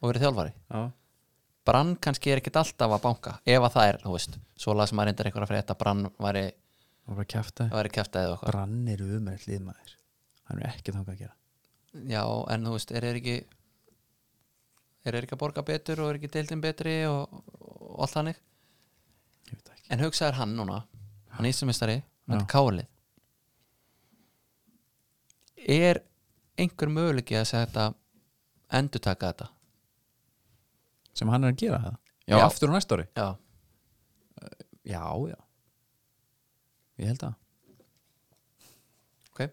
og verið þjálfari
já.
brann kannski er ekkit alltaf að banka ef að það er, þú veist, svo las maður reyndar einhverja frétt að brann væri,
það var bara að kæfta
væri kæftæðið okkar
brann er umrætt liðmaður hann er ekki þangað að gera
já, en þú veist, er þeir ekki er þeir ekki að borga betur og er ekki deildin betri og, og allt þannig
ég veit það ekki,
en hugsaður hann núna, hann íslumistari hann
Já.
er kálið er einhver möguleiki að segja þetta endurtaka þetta
sem hann er að gera það já,
Já.
aftur á næsta ári
já,
já, já, ég held að
ok,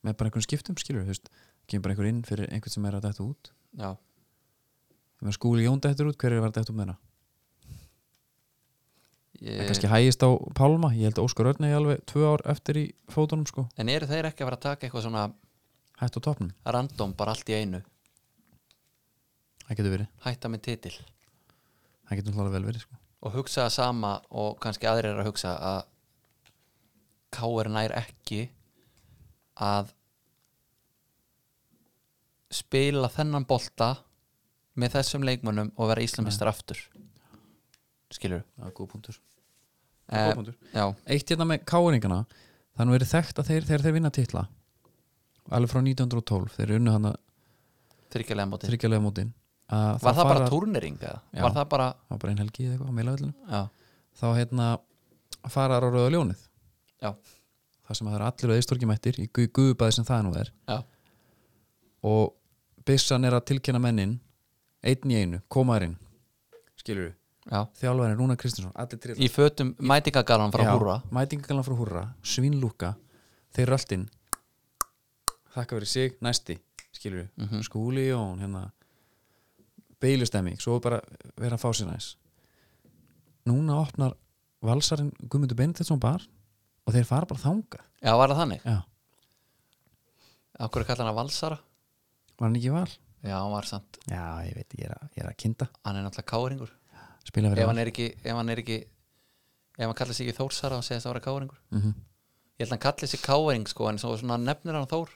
með bara einhvern skiptum skilur þú veist, kemur bara einhver inn fyrir einhvern sem er að dættu út
já,
ef maður skúli Jón dættur út, hver er að vera dættu út með hana það
ég,
kannski hægist á Pálma, ég held að Óskar Örn er alveg tvö ár eftir í fótunum sko,
en eru þeir ekki að fara að taka eitthvað svona
hætt á topnum
random bara allt í einu
það getur verið,
hætta með titil
það getur hlálega vel verið sko.
og hugsa það sama og kannski aðrir eru að hugsa að K.R. nær ekki að spila þennan bolta með þessum leikmönnum og vera íslamistar aftur skilur
það er góð punktur
Eh, já,
eitt hérna með káringana það er nú verið þekkt að þeir, þegar þeir vinna titla alveg frá 1912 þeir unnu hann að
þryggjalega móti
þryggjalega mótin að
var það bara
fara-
túrnering eða?
Já.
var það bara,
það var bara einn helgi eða eitthvað á meilavellinu
já,
þá hérna farar á rauða ljónið
Já.
það sem að það er allir auðistorki mættir í gu- guðubæði sem það nú er
já,
og byssan er að tilkynna mennin einn í einu, komaðurinn skilur við,
já
þjálfærin Rúna Kristinsson allir trilla
í fötum mætingagalan frá húra
mætingagallan frá húrra, svínlúka þeir röltinn þakka verið sig, næsti skilur við, skúli Jón hérna, beilustemming, svo bara vera að fá sér næs núna opnar valsarinn Guðmundur Benediktsson bar og þeir fara bara þangað
já, var það þannig,
já,
af hverju kallar hann að valsara
var hann ekki í val?
já, hann var samt,
já, ég veit, ég er að, ég er að kinda
hann er náttúrulega káringur
spila
ef
verið
hann er ekki ef hann er ekki ef hann kallar sig ekki Þórsara og segist að vera káringur
mm -hmm.
ég held að hann kallir sig káring sko en svo svona nefnir hann Þór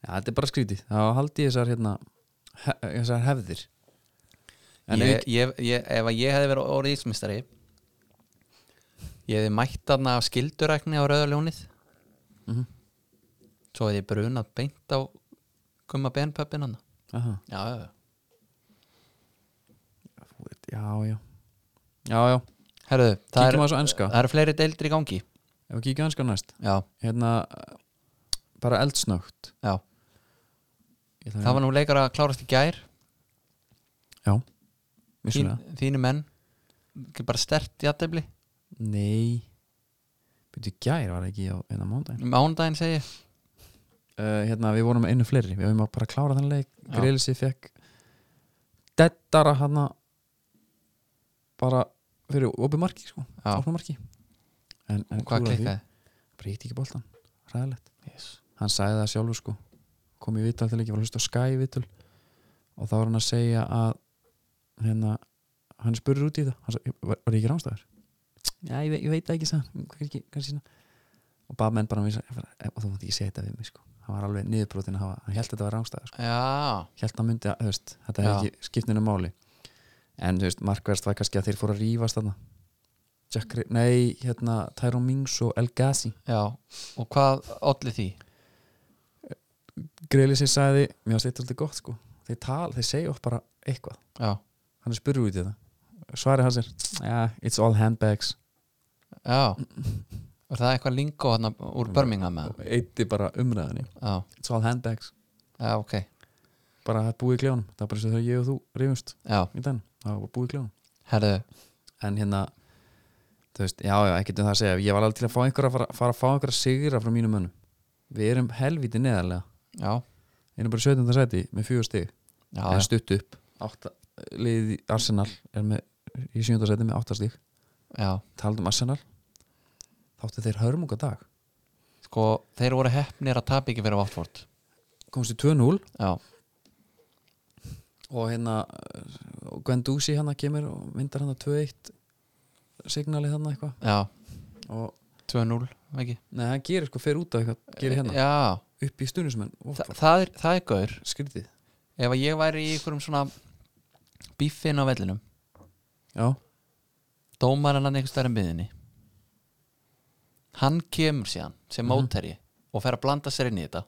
já, þetta er bara skrítið, þá haldi ég þessar hérna, he þessar hefðir En
ég, ég, ég, ef að ég hefði verið orðið ísmistari ég hefði mætt hann af skildurækni á rauðaljónið
Mhm.
svo hefði ég brunað beint á gumma benpöppin hann
Aha.
já, já, já.
já, já já, já,
herðu, það
kíkjum
eru
að þessu enska
það er fleiri deildir í gangi
ef við kíkjum enska næst
já,
hérna eh, bara eldsnögt
já. það var nú leikar að klárast í gær
já,
Þín,
vissulega
þínu menn ekki bara stert í aðdefli
nei byrju gær var það ekki á eina mándaginn
mánudaginn segi ég.
uh, hérna við vorum með einu fleiri við höfum bara að klára þann leik
Já.
Grelisi fekk dettara hana hérna bara fyrir opið marki sko
já,
opna marki en, en
og hvað
klúðraði því.
klikkaði
bara hitti ekki boltan ræðilegt
yes.
hann sagði það sjálfur sko kom í vital til ekki, var að hlusta á Sky vital og þá var hann að segja að hérna, hann spurður út í það hann sagði, var, var ég ekki ránstæður? Já, ég, ve ég veit það ekki sagði hann. Kannski- kannski svona. og bað menn bara um að vísa og þú mátt ekki segja þetta við mig sko hann var alveg niðurbrotin að hafa, hann held að þetta var rángstæða sko.
já,
held að hann myndi að, þú veist, þetta
Já.
hefði ekki skiptinu máli en þú veist, markverst var kannski að þeir fóru að rífast þarna Jack, Ri- nei, hérna Tyrone Mings og El Gassi
já og hvað olli því?
Greili sér sagði, mér varst þetta alltaf gott sko þeir tal, þeir segja upp bara eitthvað
já,
hann er spurður út í þetta svarið hans er, yeah, it's all handbags
já var það eitthvað lingo hérna úr Birmingham eða?
og eitti bara umræðinni
já,
it's all handbags,
já, ok
bara það er búið í kljónum það er bara eins og þegar ég og þú rífumst
já,
í den, það var búið í kljónum
herðu,
en hérna þú veist, já, já, ekkert um það að segja ég var alveg til að fá einhverja, fara, fara að fá einhverja sigra frá mínum mönnum við erum helviti neðarlega
já
erum bara í 17. sæti með fjögur stig
já,
en
já,
stutt upp átta, liðið í Arsenal er með, í 7. sæti með 8 stig
já
talað um Arsenal þáttu þeir hörmunga dag
sko, þeir voru heppnir að tapa ekki fyrir Watford
komst í 2-0
já,
og hérna og Gwen Dusi hann kemur og myndar hann 2-1 signalið hann eitthvað
já,
og
2-0 ekki
neða, hann gerir sko, fer út af eitthvað gerir hérna,
já,
upp í stundismenn
Þa, það, er, það er gaur
skrítið,
ef að ég væri í einhverjum svona bífin á vellinum
já
dómarinn hann einhver stærri miðinni hann kemur síðan sem
Mhm.
mótæri og fer að blanda sér inn í þetta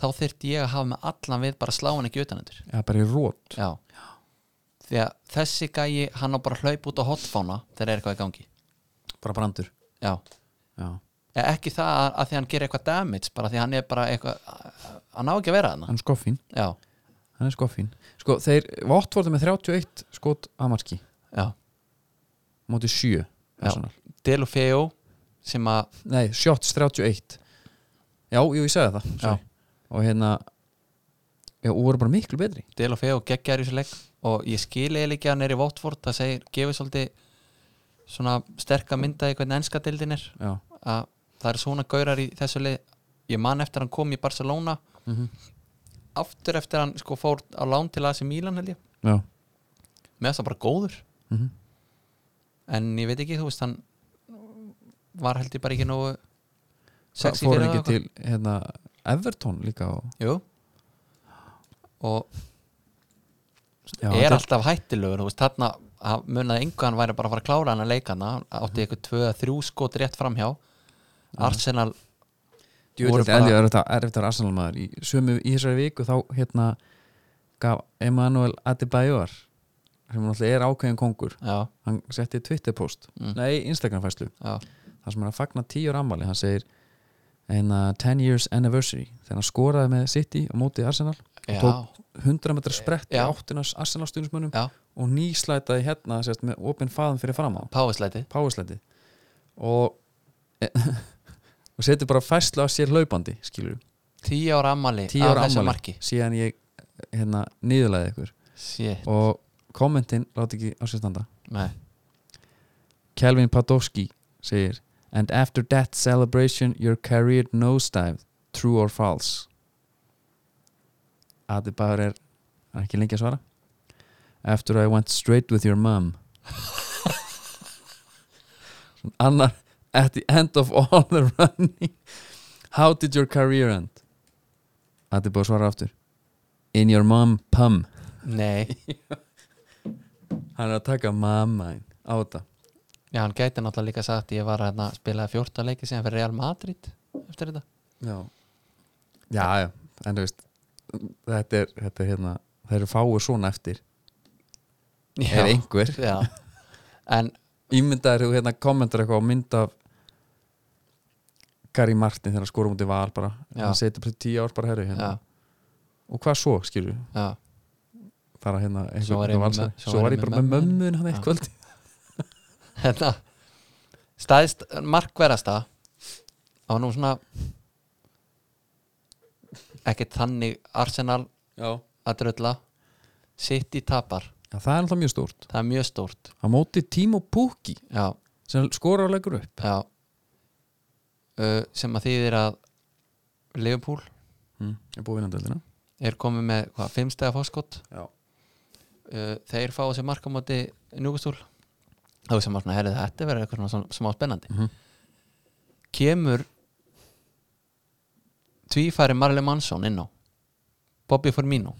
þá þyrfti ég að hafa með allan við bara að slá hann ekki utanendur
Já, bara í rót
já. því að þessi gæi hann á bara að hlaupa út á hotfána þegar er eitthvað í gangi
Bara brandur
já.
Já.
Eða ekki það að- að því hann gerir eitthvað damage bara því hann er bara eitthvað hann á ekki að vera þarna
Hann er skoffín
já,
Hann er skoffín Sko, þeir Votvort er með 31 skot að marki
já,
Móti 7 Arsenal.
Delofeo sem að
Nei, shots 31 Já, jú, ég sagði það sorry. Og hérna Já, og voru bara miklu betri
Delofeo geggjar í þessu leik og ég skil eiginlega ekki að hann er í Votford það segir, gefur svolítið svona sterka mynda í hvernig ennska deildin er
Já
að það eru svona gaurar í þessu leik ég man eftir hann kom í Barcelona
mm
aftur eftir hann sko fór á lán til AC Milan held ég
Já
með þess að bara góður
mm
en ég veit ekki, þú veist hann var held ég bara ekki nógu sexy
Fór
fyrir
hann ekki
það
til hérna Everton líka og
Jú og
Já,
er
þetta
alltaf hættilegur þú veist, þarna hann munaði engu að hann væri bara að fara að klára hann að leika hann hann
Mhm.
átti eitthvað tvö að þrjú skot rétt framhjá Arsenal
Djú,
voru
þetta er
bara-
erfitt að- erfitt að vera Arsenal maður í, sömu, í þessari viku þá hérna gaf Emmanuel Adebayor sem náttúrulega er ákveðin kongur
já,
hann setti Twitter-post
Mm.
nei, Instagram-fæslu
já,
þar sem hann er að fagna 10 ára ammali hann segir en uh, 10 years anniversary þegar hann skoraði með City á móti Arsenal
já,
Tók- 100 metra sprett í
Já.
áttinas Arsenal stundismönnum
já
og nýslætaði hérna sérst, með opinn faðum fyrir fram á
páfisleiti
páislætið og e, og setur bara fæslu á sér hlaupandi skilur
tíu ára ammali
10 ára
af þessu
ammali.
marki
síðan ég hérna niðurlæði ykkur
Shit,
og kommentin láti ekki á sér standa
nei,
Kelvin Padowski segir And after that celebration your career nosedived True or false Adebayor er hann er ekki lengi að svara After I went straight with your mum Svona Annar At the end of all the running How did your career end? Adebayor svarar aftur In your mum pum
nei
Hann er að taka mamma inn á þetta
já, hann gæti náttúrulega líka sagt ég var hérna að spila 14 leiki síðan fyrir Real Madrid eftir þetta
Já, já, já en þú veist þetta er, þetta er hérna það eru fáið svona eftir ef einhver
já. en
ímyndaðir þú hérna kommentar eitthvað á mynd af Gary Martin þegar hann skorum út í val bara
Já.
hann setur bara tíu ár bara herri hérna.
já,
og hvað svo skilur
já,
þar að hérna einhver
Svo var ég
út á
með
Valsari.
mö- svo
svo
var
var
ég
ég bara
með
með mömmun hann eitt
Já.
kvöld
hérna staðist markverasta það var nú svona ekkert þannig Arsenal
já.
að drölla City tapar,
það er alltaf mjög stórt
það er mjög stórt
á móti Timo Pukki
já,
sem skorar og leggur upp
já uh, sem að þýðir að Liverpool
mm. er búið vinnandöldina
er komið með hvað, fimmstega fórskott
Já.
uh, þeir fá þessi markamóti núgustúl þá sem var svona, herrið, þetta verður eitthvað svona, svona smá spennandi
Mhm.
kemur tvífæri Marley Manson inn á Bobby Firmino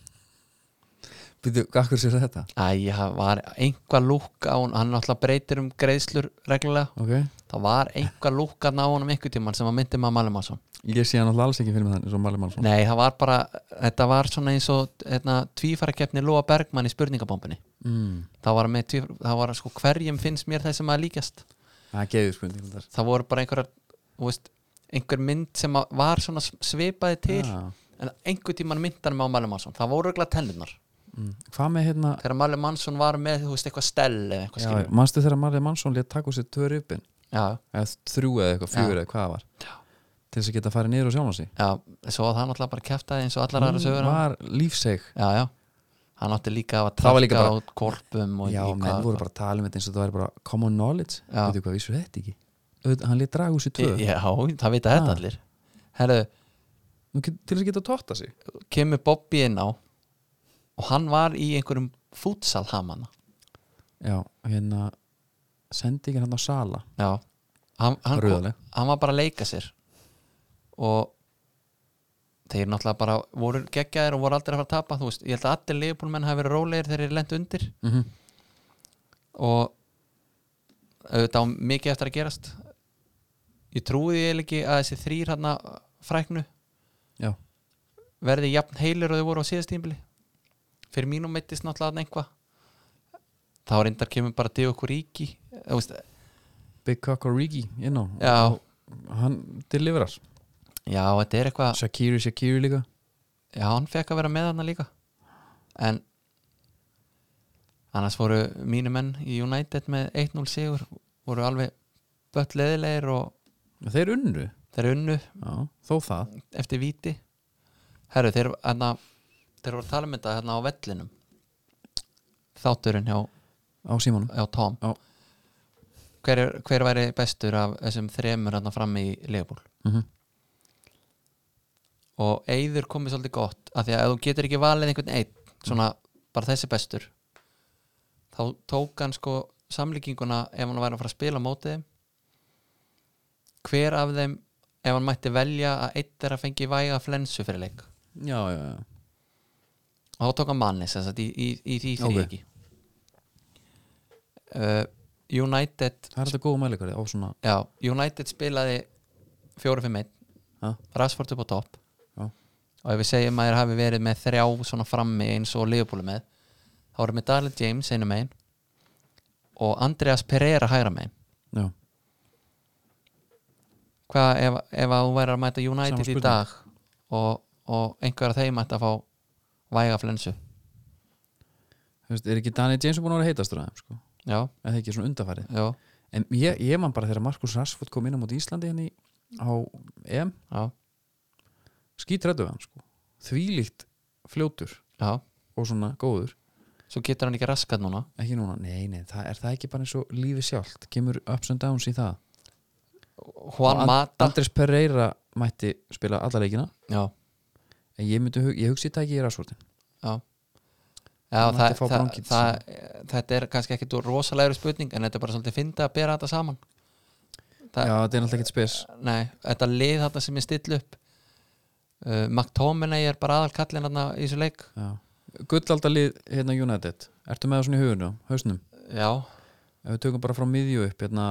Býtu, akkur sér þetta?
Æ, það var einhvað lúk á hún hann náttúrulega breytir um greiðslur reglulega
Ok,
það var einhvað lúk að ná honum einhvern tímann sem að myndi maður Marley Manson
ég sé hann alltaf alls ekki fyrir með þannig svo Marley Manson
Nei, það var bara, þetta var svona eins og hérna, tvífærakeppni Lóa Bergmann í spurningabombinni
mm.
það var, með, tvífæra, það var sko hverjum finnst mér þessum að líkjast
Það er geðið spurning þetta.
það voru bara einhverjar þú veist, einhver mynd sem að var svona svipaði til
Já.
en einhver tíman myndanum á Marley Manson það voru örugglega tennunar
mm. Hvað með hérna
þegar Marley Manson var með þú veist eitthvað stell eða eitthvað
já,
skilur
Manstu þegar Marley Manson létt taka úr sér tvö ripin
já,
eða þrjú eða eitthvað, fjögur eða hvað það var
Já.
til þess að geta að fara niður á sjálfansi
já, svo að hann alltaf bara kæftaði eins og allar aðra sögur um- hann.
Mm. var lífseg
já, já, hann átti líka að
Það var líka
traka
bara-
út korpum og
Já,
í
menn
hvað-
voru bara að tala um þetta eins og það væri bara common knowledge,
Já.
veitu hvað, vissu þetta ekki Auðvitað, hann létt draga úr sér tvö Ah.
já, það vita
Já.
þetta allir herru,
Nú get- til þess að geta að totta sig
kemur Bobby inn á og hann var í einhverjum futsalhamana
Já, hérna sendingin hann á sala
já, hann, hann, kom-
Rauðaleg.
hann var bara að leika sér og þeir náttúrulega bara voru geggjaðir og voru aldrei að fara að tapa þú veist, ég held að allir leifbólmenn hafi verið rólegir þegar þeir lent undir
mm -hmm.
og auðvitað á mikið eftir að gerast ég trúi því eiginlega ekki að þessi þrýr hann fræknu
Já,
verði jafn heilir og þau voru á síðast tímbili fyrir mínum meittist náttúrulega þarna einhvað þá reyndar kemur bara til okkur ríki þú veist,
Big Cock og Rigi inn á
já,
Hann deliverar
já, þetta er eitthvað
Shakiri, Shakiri líka
Já, hann fekk að vera með hann líka En Annars voru mínu menn í United með 1-0 sigur voru alveg bött leðilegir og
Þeir unnu,
þeir unnu
já, þó það
eftir víti Herru, þeir, anna, þeir voru að tala um þetta hérna á vellinum Þátturinn hjá,
á símanum
hjá Tom
Já.
hver, er- hver væri bestur af þessum þremur hérna fram í Leifbúl
mm -hmm.
og eyður komið svolítið gott af því að ef þú getur ekki valið einhvern einn svona bara þessi bestur þá tók hann sko samlíkinguna ef hann væri að fara að spila á mótið þeim hver af þeim ef hann mætti velja að eitt er að fengi væga flensu fyrir leik
Já, já, já
og þá tók hann manni sem sagt í, í, í því
Ok.
þrý ekki United
Það er þetta góða mælikari á svona
já, United spilaði 4-5-1
Ha?
Rashford upp á topp
Já.
og ef við segjum að þeir hafi verið með þrjá svona frammi eins og Liverpool er með þá erum við Darlin James einu megin og Andreas Pereira hægra megin
Já,
hvað ef, ef að hún væri að mæta United
Sama
í
spurning.
dag og, og einhver af þeim mætti að fá væga flensu
þú veist, er ekki Danny James búin að vera heitastur aðeim, sko
já,
eða ekki svona undarfærið
já,
En ég, ég man bara þegar Markus Rashford kom inn á móti Íslandi henni á EM
já,
skítrættu við hann, sko Þvílíkt fljótur
já
og svona góður
svo getur hann ekki raskat núna
ekki núna, nei, nei, það er það ekki bara eins og lífi sjálft, kemur ups and downs í það
Juan
And-
Mata
Andrés Pereira mætti spila alla leikina
já,
en ég, myndi, hug- ég hugsi þetta ekki í rasvortin
já
Hann
það,
mætti fá
það,
bronkitis.
það, þetta er kannski ekki rosalegri spurning en þetta er bara svolítið fyndi að bera þetta saman Það-
já, þetta er náttúrulega ekkert spes
Nei, þetta lið þarna sem ég stillu upp uh, McTominay er bara aðal kallin þarna í þessu leik
já. gullaldalið hérna United ertu með það svona í hugunum, hausnum
Já,
ef við tökum bara frá miðju upp hérna,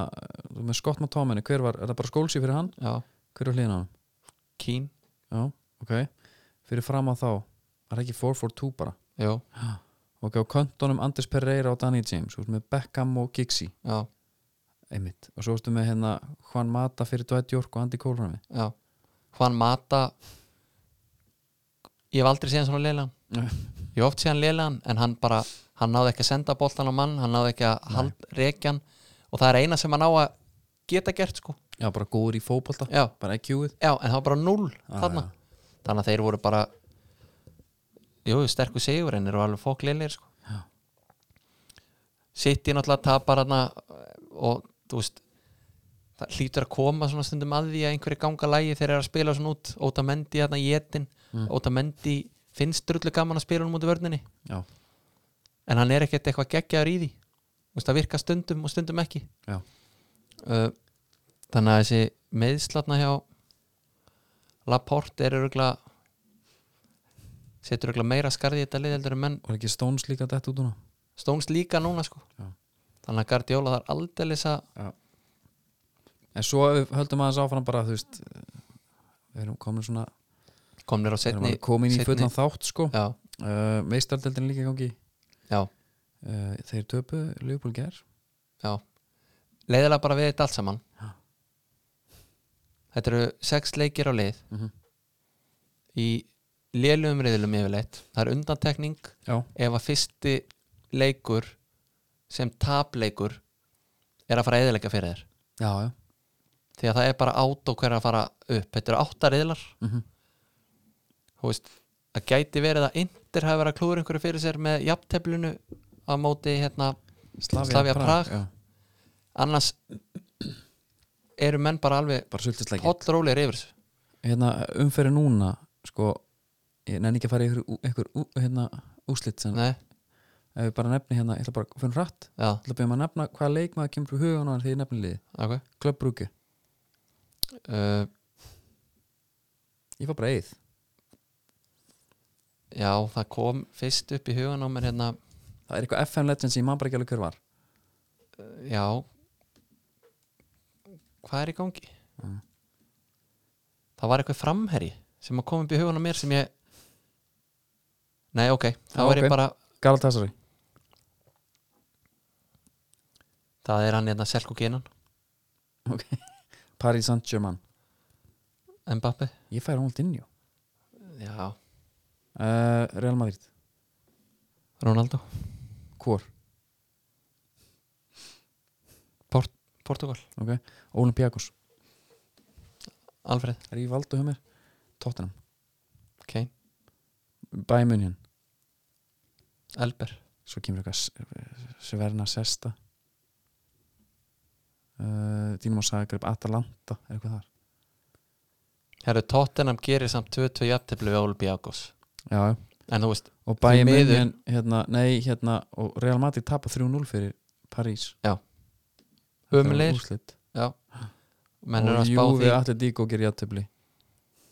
þú með Scott McTominay, hver var, er það bara skólsi fyrir hann
já,
hver var hlýðin á hann,
Keane
já, ok fyrir fram að þá, það er ekki 4-4-2 bara
Jú,
ok, á köntunum Andrés Pereira og Danny James þú ert með Beckham og Gixi
já,
einmitt, og svo ertu með hérna Juan Mata fyrir Dwight York og Andy Cole frammi
já Juan Mata Ég hef aldrei séð hann svona leilan
Nei.
Ég hef oft séð hann leilan en hann bara, hann náði ekki að senda boltan á mann hann náði ekki að hald, rekja hann og það er eina sem hann á að geta gert sko
já, bara góður í fótbolta,
Já,
bara IQ-ið
já en það var bara null
Ah, Já,
þarna þannig að þeir voru bara jú, sterkur sigur en eru alveg fólk leilir sko.
Já.
City náttúrulega tapar hana og þú veist það hlýtur að koma svona stundum að því að einhverju ganga lægi þeir eru að spila svona út Ótamendi hana í etin
Mm.
Ótamendi finnst drullu gaman að spila hún múti vörninni
já,
en hann er ekkert eitthvað geggjaður í því Þú veist, það virka stundum og stundum ekki
Já.
uh, þannig að þessi meðslatna hjá Laporte er örgla setur örgla meira skarði í þetta lið heldur en menn
var ekki Stones líka dætt út núna
Stones líka núna sko
Já.
þannig að Guardiola þar aldeilis að
en svo ef við höldum aðeins áfram bara þú veist eh, við erum komin svona
komnir
við erum
á setni
alveg komin í
seinni-
fullan þátt sko
já,
uh, meistardeldin er líka í gangi
já,
uh, þeir töpu Leopold Ger
já leiðilega bara við þetta allt saman
Já.
þetta eru sex leikir á leið
Mhm.
í lélugum reyðlum yfirleitt það er undantekning
já,
ef að fyrsti leikur sem tapleikur er að fara að eðilega fyrir þér
já, já
því að það er bara át og hver að fara upp þetta eru átta reyðlar
mm -hmm.
þú veist, það gæti verið að Inter hafi verið að klúra einhverju fyrir sér með jafnteflinu á móti hérna Slavia Prag.
já,
annars eru menn bara alveg
bara sultisleiki
hollrólegir yfir þessu
hérna umferði núna sko, ég nenni ekki að fara í ykkur, ykkur ú- hérna, úslit sem
Nei,
ef við bara nefni hérna, ég ætla bara að fyrir rætt
já,
ég ætla að byrja maður að nefna hvaða leikmaður kemur frá hugan á hann þegar ég nefni liði,
ok
klöpbrúki
uh,
ég var bara eið,
Já, það kom fyrst upp í hugan á mér hérna
það er eitthvað FM Legends sem ég maður bara ekki alveg hver var
Já Hvað er í gangi?
Mm.
Það var eitthvað framherji sem að koma upp í hugan á mér sem ég Nei, ok, þá
Já,
er
ok.
ég bara
Galatasaray,
Það er hann hérna Selko Kinan,
Paris Saint-Germain
Mbappi
ég fær hún inn í
Já,
uh, Real Madrid,
Ronaldo,
Kór
Portugal,
okay. Olympiakos,
Alfred
er ég valdu hjá mér Tottenham,
Kane,
Bayern München
Elber
svo kemur eitthvað S- Sverna Sesta uh, Dínum á Sagreb Atalanta, er eitthvað þar
Herru, Tottenham gerir samt 2-2 jafntefli við Olympiakos
já, já
En þú veist,
og Bayern
miður.
München hérna, nei, hérna, og Real Madrid tapa 3-0 fyrir París
Já.
Þetta var
Ömurlegir.
úrslit.
já Menn eru
og
að spá
Júfi
því
allir díko gerir játtöfli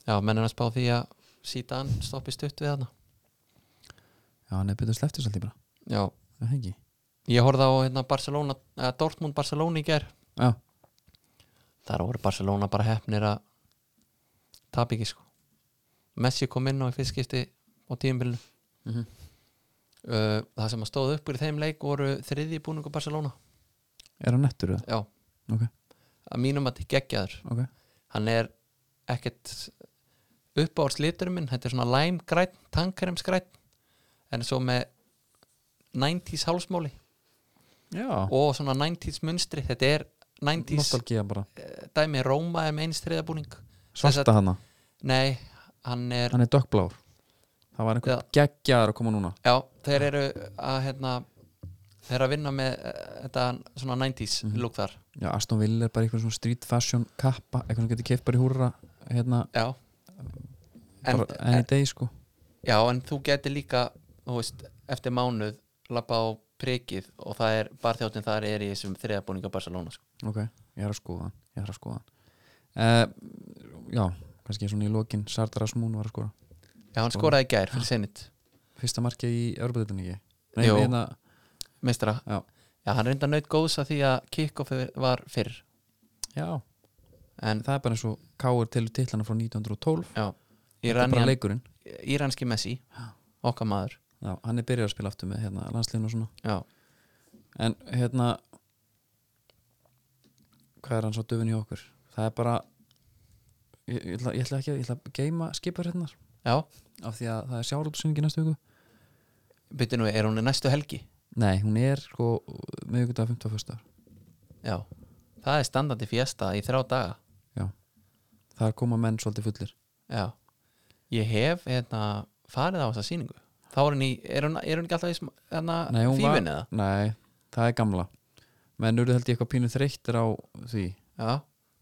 Já, menn eru að spá því að Sítan stoppi stutt við hana
já, hann er betur sleftur svolítið bara
Já,
það hengi
ég horfði á hérna Barcelona, eh, Dortmund Barcelona í ger
já,
Þar voru Barcelona bara hefnir að tapa ekki sko Messi kom inn á í fyrstskipti á tíumbilinu
mm
Mhm. uh, Það sem að stóð upp úr í þeim leik voru þriði búningu Barcelona
er hann nettur eða?
Já,
ok,
að mínum að þetta geggjaður
ok,
hann er ekkert uppáhalds liturinn minn, þetta er svona læmgrætt tankaremsgrætt en svo með 90s hálsmáli
já
og svona 90s munstri, þetta er 90s
nostalgía bara,
eh, dæmi Róma er með eins þriðabúning Þess
svarta hana
nei, hann er
hann er dökkblár það var einhver
Já.
geggjaðar að koma núna
já, þeir eru að hérna, þeir eru að vinna með eh, þetta svona 90s
Mhm.
look þar
já, Aston Villa er bara einhver svona street fashion kappa, eitthvað sem getur keift bara í húrra hérna,
já en, eh,
bara enn í degi sko
Já, en þú getur líka þú veist, eftir mánuð lappa á prikið og það er barþjóttin þar er í þessum þriðabúninga Barcelona sko.
Ok, ég er að skoða hann, ég er að skoða hann. uh, Já, kannski svona í lokin Sardar Asmún var að skora
Já, hann skoraði í gær fyrir sinnit
Fyrsta markið í Örbudetinni ekki? Nei,
Jú.
hérna,
meistara.
Já.
hann reynda naut góðs að því að kickoffi var fyrr
já,
en
það er bara eins og Káur til titlana frá 1912 Þetta er bara
Iranian,
leikurinn
íranski Messi okkar maður
Já, hann er byrjað að spila aftur með hérna, landsliðin og svona
Já,
En hérna Hvað er hann svo döfin í okkur? Það er bara Ég, ég, ætla, ég ætla ekki að, ég ætla að geima skipar hérna
já
Af því að það er sjárútusunningi næstu viku
byrju nú, er hún í næstu helgi?
Nei, hún er sko miðvikudag 51.
Já, það er standandi fjesta í þrjá daga
Það er koma menn svolítið fullir
Já, ég hef hérna, farið á þessa sýningu þá er hún í, er hún, er hún ekki alltaf í sm- hérna,
Nei, hún var-
fífin eða?
Nei, það er gamla menn eru held ég eitthvað pínu þreyttir á því
Já,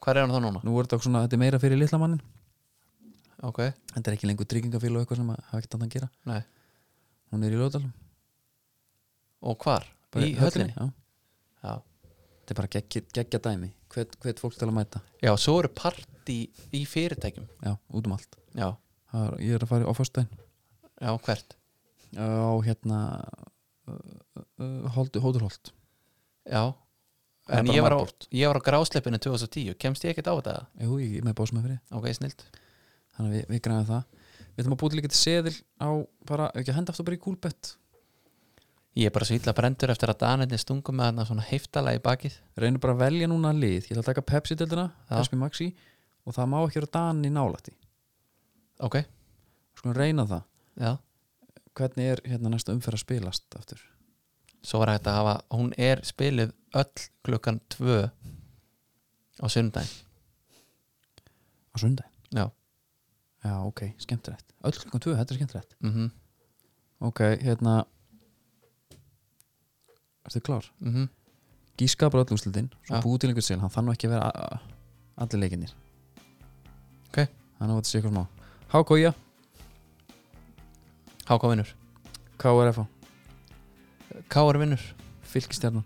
hvað er hann þá núna?
nú er þetta svona, þetta er meira fyrir litla mannin
Ok,
þetta er ekki lengur tryggingafél og eitthvað sem að hafa ekkert annað að gera
nei,
hún er í lögadalum
og hvar?
bara
í höllinni?
já.
Já,
þetta er bara geggja, geggja dæmi hvet, hvet fólk til að mæta
já, svo eru partí í fyrirtækjum
já, út um allt
já,
Það er, ég er að fara á föstudaginn
já, hvert
á hérna uh, uh, hóðurholt
já,
Það er
en
bara
ég var, á,
margbolt.
ég var á grásleipinu 2010 kemst ég ekkert á þetta,
jú, ég er með bóðs með fyrir
ok, snilt
þannig að við, við græðum það við ætlum að búið líka til seðil á bara, ekki að henda aftur bara í kúlbett
ég er bara svo illa brendur eftir að Danetni stungum með hann svona heiftala í bakið
reynum bara að velja núna lið ég ætla að taka Pepsi-deldina,
Já.
SP Maxi og það má ekki vera Dani nálætti
ok,
skulum reyna það,
já,
hvernig er hérna næsta umferð að spilast aftur
svo var þetta að hafa hún er spilið öll klukkan tvö á sundaginn
á sundæ
Já.
já, ok, skemmtilegt, öll klukkan 2, þetta er skemmtilegt
mhm, mhm
ok, hérna ertu klár?
mhm.
Gíska bara öll úrslitin, svo
Já.
búið til einhvern sel hann þannig ekki að vera a- a- allir leikinnir
Ok.
þannig að þetta sé eitthvað smá Hákója,
Háká vinnur
KRFA,
Káur vinnur
Fylkistjarnan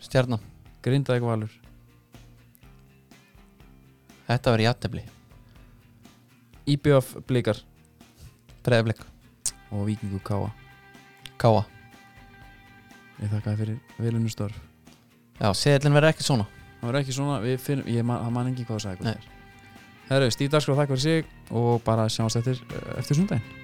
Stjarnan
Grindavík Valur
Þetta verður játefli
IBF Blikar
Breiðablik
og Víkingu Káa
Káa
Ég þakka þér fyrir velunum störf
Já, seðlinn verður ekki svona
Það var ekki svona, við finnum, ég man, það man ekki hvað það sagði
Nei.
Herru, Stíf Darskóð, þakka fyrir sig og bara sjáumst eh, eftir, eftir sundaginn